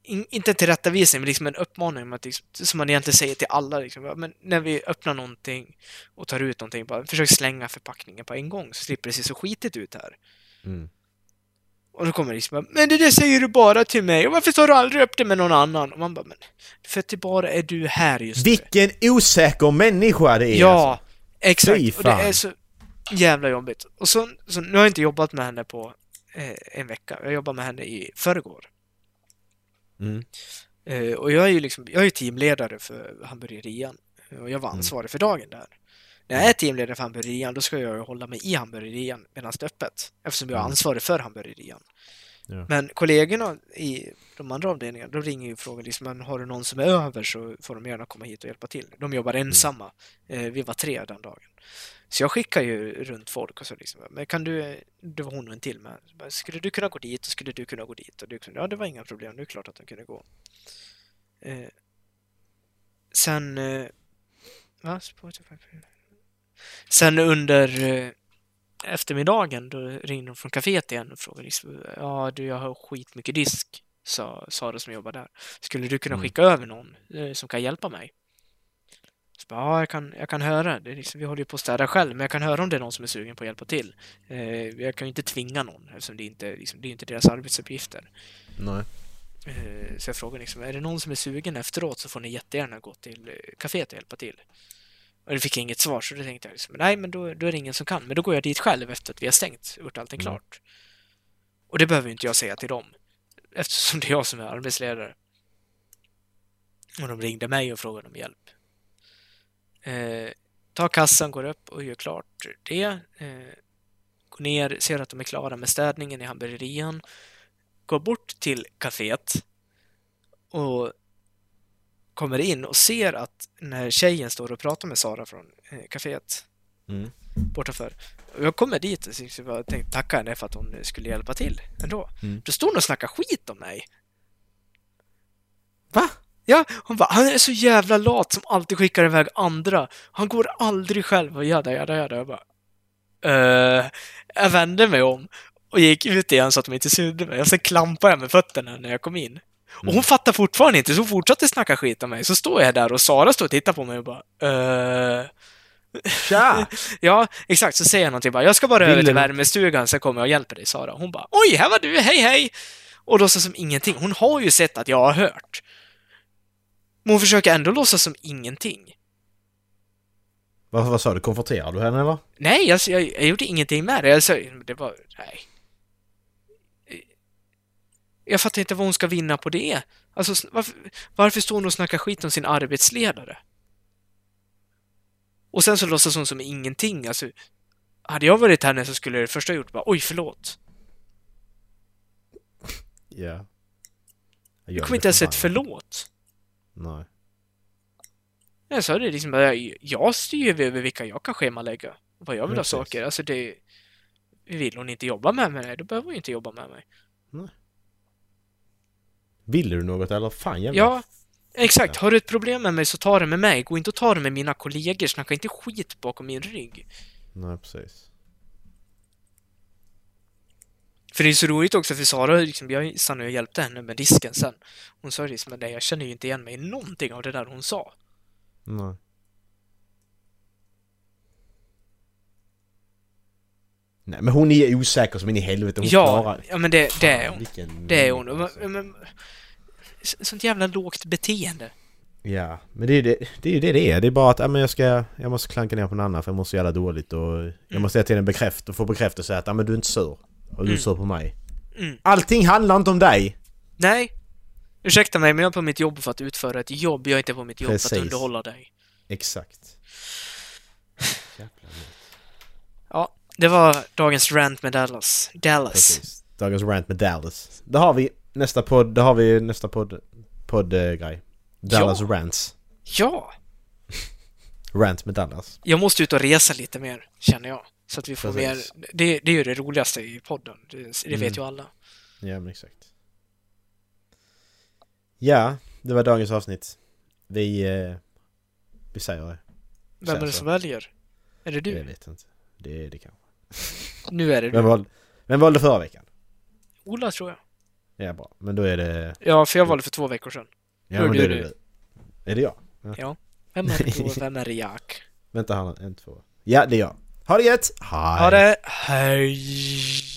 [SPEAKER 3] in, inte en tillrättavisning, men liksom en uppmaning om att, liksom, som man egentligen säger till alla. Liksom, va, men när vi öppnar någonting och tar ut någonting. Bara, försök slänga förpackningen på en gång så slipper det se så skitigt ut här.
[SPEAKER 4] Mm.
[SPEAKER 3] Och då kommer liksom Men det där säger du bara till mig och varför tar du aldrig upp det med någon annan? Och man bara Men för att det bara är du här just nu.
[SPEAKER 4] Vilken osäker människa det är! Alltså.
[SPEAKER 3] Ja,
[SPEAKER 4] Fy
[SPEAKER 3] exakt. Och det
[SPEAKER 4] fan.
[SPEAKER 3] är så jävla jobbigt. Och så, så nu har jag inte jobbat med henne på eh, en vecka. Jag jobbade med henne i förrgår.
[SPEAKER 4] Mm.
[SPEAKER 3] Eh, och jag är ju liksom, jag är ju teamledare för hamburgerian. Eh, Och jag
[SPEAKER 4] Mm.
[SPEAKER 3] var ansvarig för dagen där. När jag är teamledare för hamburgerian, då ska jag ju hålla mig i hamburgerian medan det är öppet. Eftersom jag är
[SPEAKER 4] Mm.
[SPEAKER 3] ansvarig för hamburgerian.
[SPEAKER 4] Ja.
[SPEAKER 3] Men kollegorna i de andra avdelningarna, de ringer ju och frågar liksom, men har du någon som är över så får de gärna komma hit och hjälpa till. De jobbar
[SPEAKER 4] Mm.
[SPEAKER 3] ensamma. Eh, vi var tre den dagen. Så jag skickar ju runt folk och så liksom, men kan du, det var hon och en till med, Så bara, skulle du kunna gå dit och skulle du kunna gå dit? Och du kunde, ja det var inga problem, det är klart att de kunde gå. Eh, sen, eh, va? Spotify. Sen under eh, eftermiddagen då ringde de från kaféet igen och frågade liksom, ja du jag har skitmycket disk, sa Sara som jobbar där. Skulle du kunna
[SPEAKER 4] Mm.
[SPEAKER 3] skicka över någon eh, som kan hjälpa mig? Så bara, ja, jag kan, jag kan höra. Det är liksom, vi håller ju på att städa själv, men jag kan höra om det är någon som är sugen på att hjälpa till. Eh, jag kan ju inte tvinga någon eftersom det inte liksom, det är inte deras arbetsuppgifter.
[SPEAKER 4] Nej.
[SPEAKER 3] Eh, Så jag frågade liksom, är det någon som är sugen efteråt så får ni jättegärna gå till eh, kaféet och hjälpa till. Och det fick jag inget svar så då tänkte jag liksom, nej men då, då är det ingen som kan. Men då går jag dit själv efter att vi har stängt och gjort allting
[SPEAKER 4] Mm.
[SPEAKER 3] klart. Och det behöver ju inte jag säga till dem. Eftersom det är jag som är arbetsledare. Och de ringde mig och frågade om hjälp. Eh, tar kassan, går upp och gör klart det. Eh, går ner, ser att de är klara med städningen i hamburgerian. Går bort till kaféet och kommer in och ser att den här tjejen står och pratar med Sara från eh, kaféet
[SPEAKER 4] Mm.
[SPEAKER 3] bortanför. Och jag kommer dit och så jag tänkte tacka henne för att hon skulle hjälpa till ändå.
[SPEAKER 4] Mm.
[SPEAKER 3] Då stod hon och snackade skit om mig.
[SPEAKER 4] Va?
[SPEAKER 3] Ja, hon bara han är så jävla lat som alltid skickar iväg andra. Han går aldrig själv och jada, jada, jada. Jag bara... Uh, jag vände mig om och gick ut igen så att de inte sydde mig. Och sen klampade jag med fötterna när jag kom in. Och
[SPEAKER 4] Mm.
[SPEAKER 3] hon fattar fortfarande inte, så hon fortsatte snacka skit om mig. Så står jag där och Sara står och tittar på mig och bara... Uh,
[SPEAKER 4] Tja!
[SPEAKER 3] Ja, exakt. Så säger jag någonting bara, jag ska bara över
[SPEAKER 4] Vill
[SPEAKER 3] till
[SPEAKER 4] du-
[SPEAKER 3] värmestugan så kommer jag och hjälper dig Sara. Hon bara, oj, här var du, hej hej! Och låtsas som ingenting. Hon har ju sett att jag har hört. Men hon försöker ändå låtsas som ingenting.
[SPEAKER 4] Vad, vad sa du? Konfronterade du henne eller?
[SPEAKER 3] Nej, alltså, jag, jag gjorde ingenting med det. Jag sa, det var, nej. Jag fattar inte vad hon ska vinna på det. Alltså, sn- varför, varför står hon och snackar skit om sin arbetsledare? Och sen så låtsas hon som ingenting. Alltså, hade jag varit henne så skulle jag det första jag gjort bara, oj, förlåt.
[SPEAKER 4] Ja.
[SPEAKER 3] Du kommer inte ens säga ett förlåt.
[SPEAKER 4] Nej.
[SPEAKER 3] Jag sa det liksom, bara, jag styr ju över vilka jag kan schemalägga. Vad jag vill ha
[SPEAKER 4] Precis.
[SPEAKER 3] saker. Alltså det... Vill hon inte jobba med mig, nej, då behöver hon ju inte jobba med mig.
[SPEAKER 4] Ville du något eller? Fan jävla...
[SPEAKER 3] Ja, exakt. Har du ett problem med mig så ta det med mig. Gå inte och ta det med mina kollegor. Snacka inte skit bakom min rygg.
[SPEAKER 4] Nej precis.
[SPEAKER 3] För det är så roligt också för Sara, liksom, jag stannade och hjälpte henne med disken sen. Hon sa liksom men nej, jag känner ju inte igen mig i någonting av det där hon sa.
[SPEAKER 4] Nej. Nej men hon är osäker som in i helvete. Hon
[SPEAKER 3] Ja,
[SPEAKER 4] klarar...
[SPEAKER 3] ja men det, det är hon.
[SPEAKER 4] Vilken... alltså.
[SPEAKER 3] Det är hon. Men, men, så- sånt jävla lågt beteende.
[SPEAKER 4] Ja, men det är ju det det, är ju det, det är. Det är bara att ja, men jag, ska, jag måste klanka ner på någon annan för jag mår så jävla dåligt och
[SPEAKER 3] Mm.
[SPEAKER 4] jag måste hela tiden bekräfta och få bekräftelse att ja, men du är inte sur. Och du är sur på mig.
[SPEAKER 3] Mm.
[SPEAKER 4] Allting handlar inte om dig!
[SPEAKER 3] Nej. Ursäkta mig, men jag är på mitt jobb för att utföra ett jobb. Jag är inte på mitt jobb för
[SPEAKER 4] Precis.
[SPEAKER 3] att underhålla dig.
[SPEAKER 4] Exakt. Jävla nöt.
[SPEAKER 3] Det var dagens rant med Dallas. Dallas.
[SPEAKER 4] Precis. Dagens rant med Dallas. Det har vi nästa podd, det har vi nästa podd, poddgrej. Dallas rants.
[SPEAKER 3] Ja!
[SPEAKER 4] Rant med Dallas.
[SPEAKER 3] Jag måste ut och resa lite mer, känner jag. Så att vi får
[SPEAKER 4] Precis.
[SPEAKER 3] mer... Det, det är ju det roligaste i podden. Det, det vet ju alla.
[SPEAKER 4] Ja men exakt. Ja, det var dagens avsnitt. Vi, eh, vi säger det.
[SPEAKER 3] Vem är det
[SPEAKER 4] så.
[SPEAKER 3] som väljer? Är det
[SPEAKER 4] Jag
[SPEAKER 3] du?
[SPEAKER 4] vet inte. Det är det kanske.
[SPEAKER 3] Nu är det
[SPEAKER 4] Vem
[SPEAKER 3] du.
[SPEAKER 4] valde, vem valde förra veckan?
[SPEAKER 3] Ola, tror jag.
[SPEAKER 4] Ja bra, men då är det...
[SPEAKER 3] Ja, för jag valde för två veckor sedan.
[SPEAKER 4] Ja
[SPEAKER 3] Då är
[SPEAKER 4] men
[SPEAKER 3] det
[SPEAKER 4] då är det
[SPEAKER 3] du.
[SPEAKER 4] du. Är det jag?
[SPEAKER 3] Vem är det då? Vem är det Jack?
[SPEAKER 4] Vänta här nu, en, två. Ja det är jag. Ha det gött! Hej!
[SPEAKER 3] Ha det! Hej!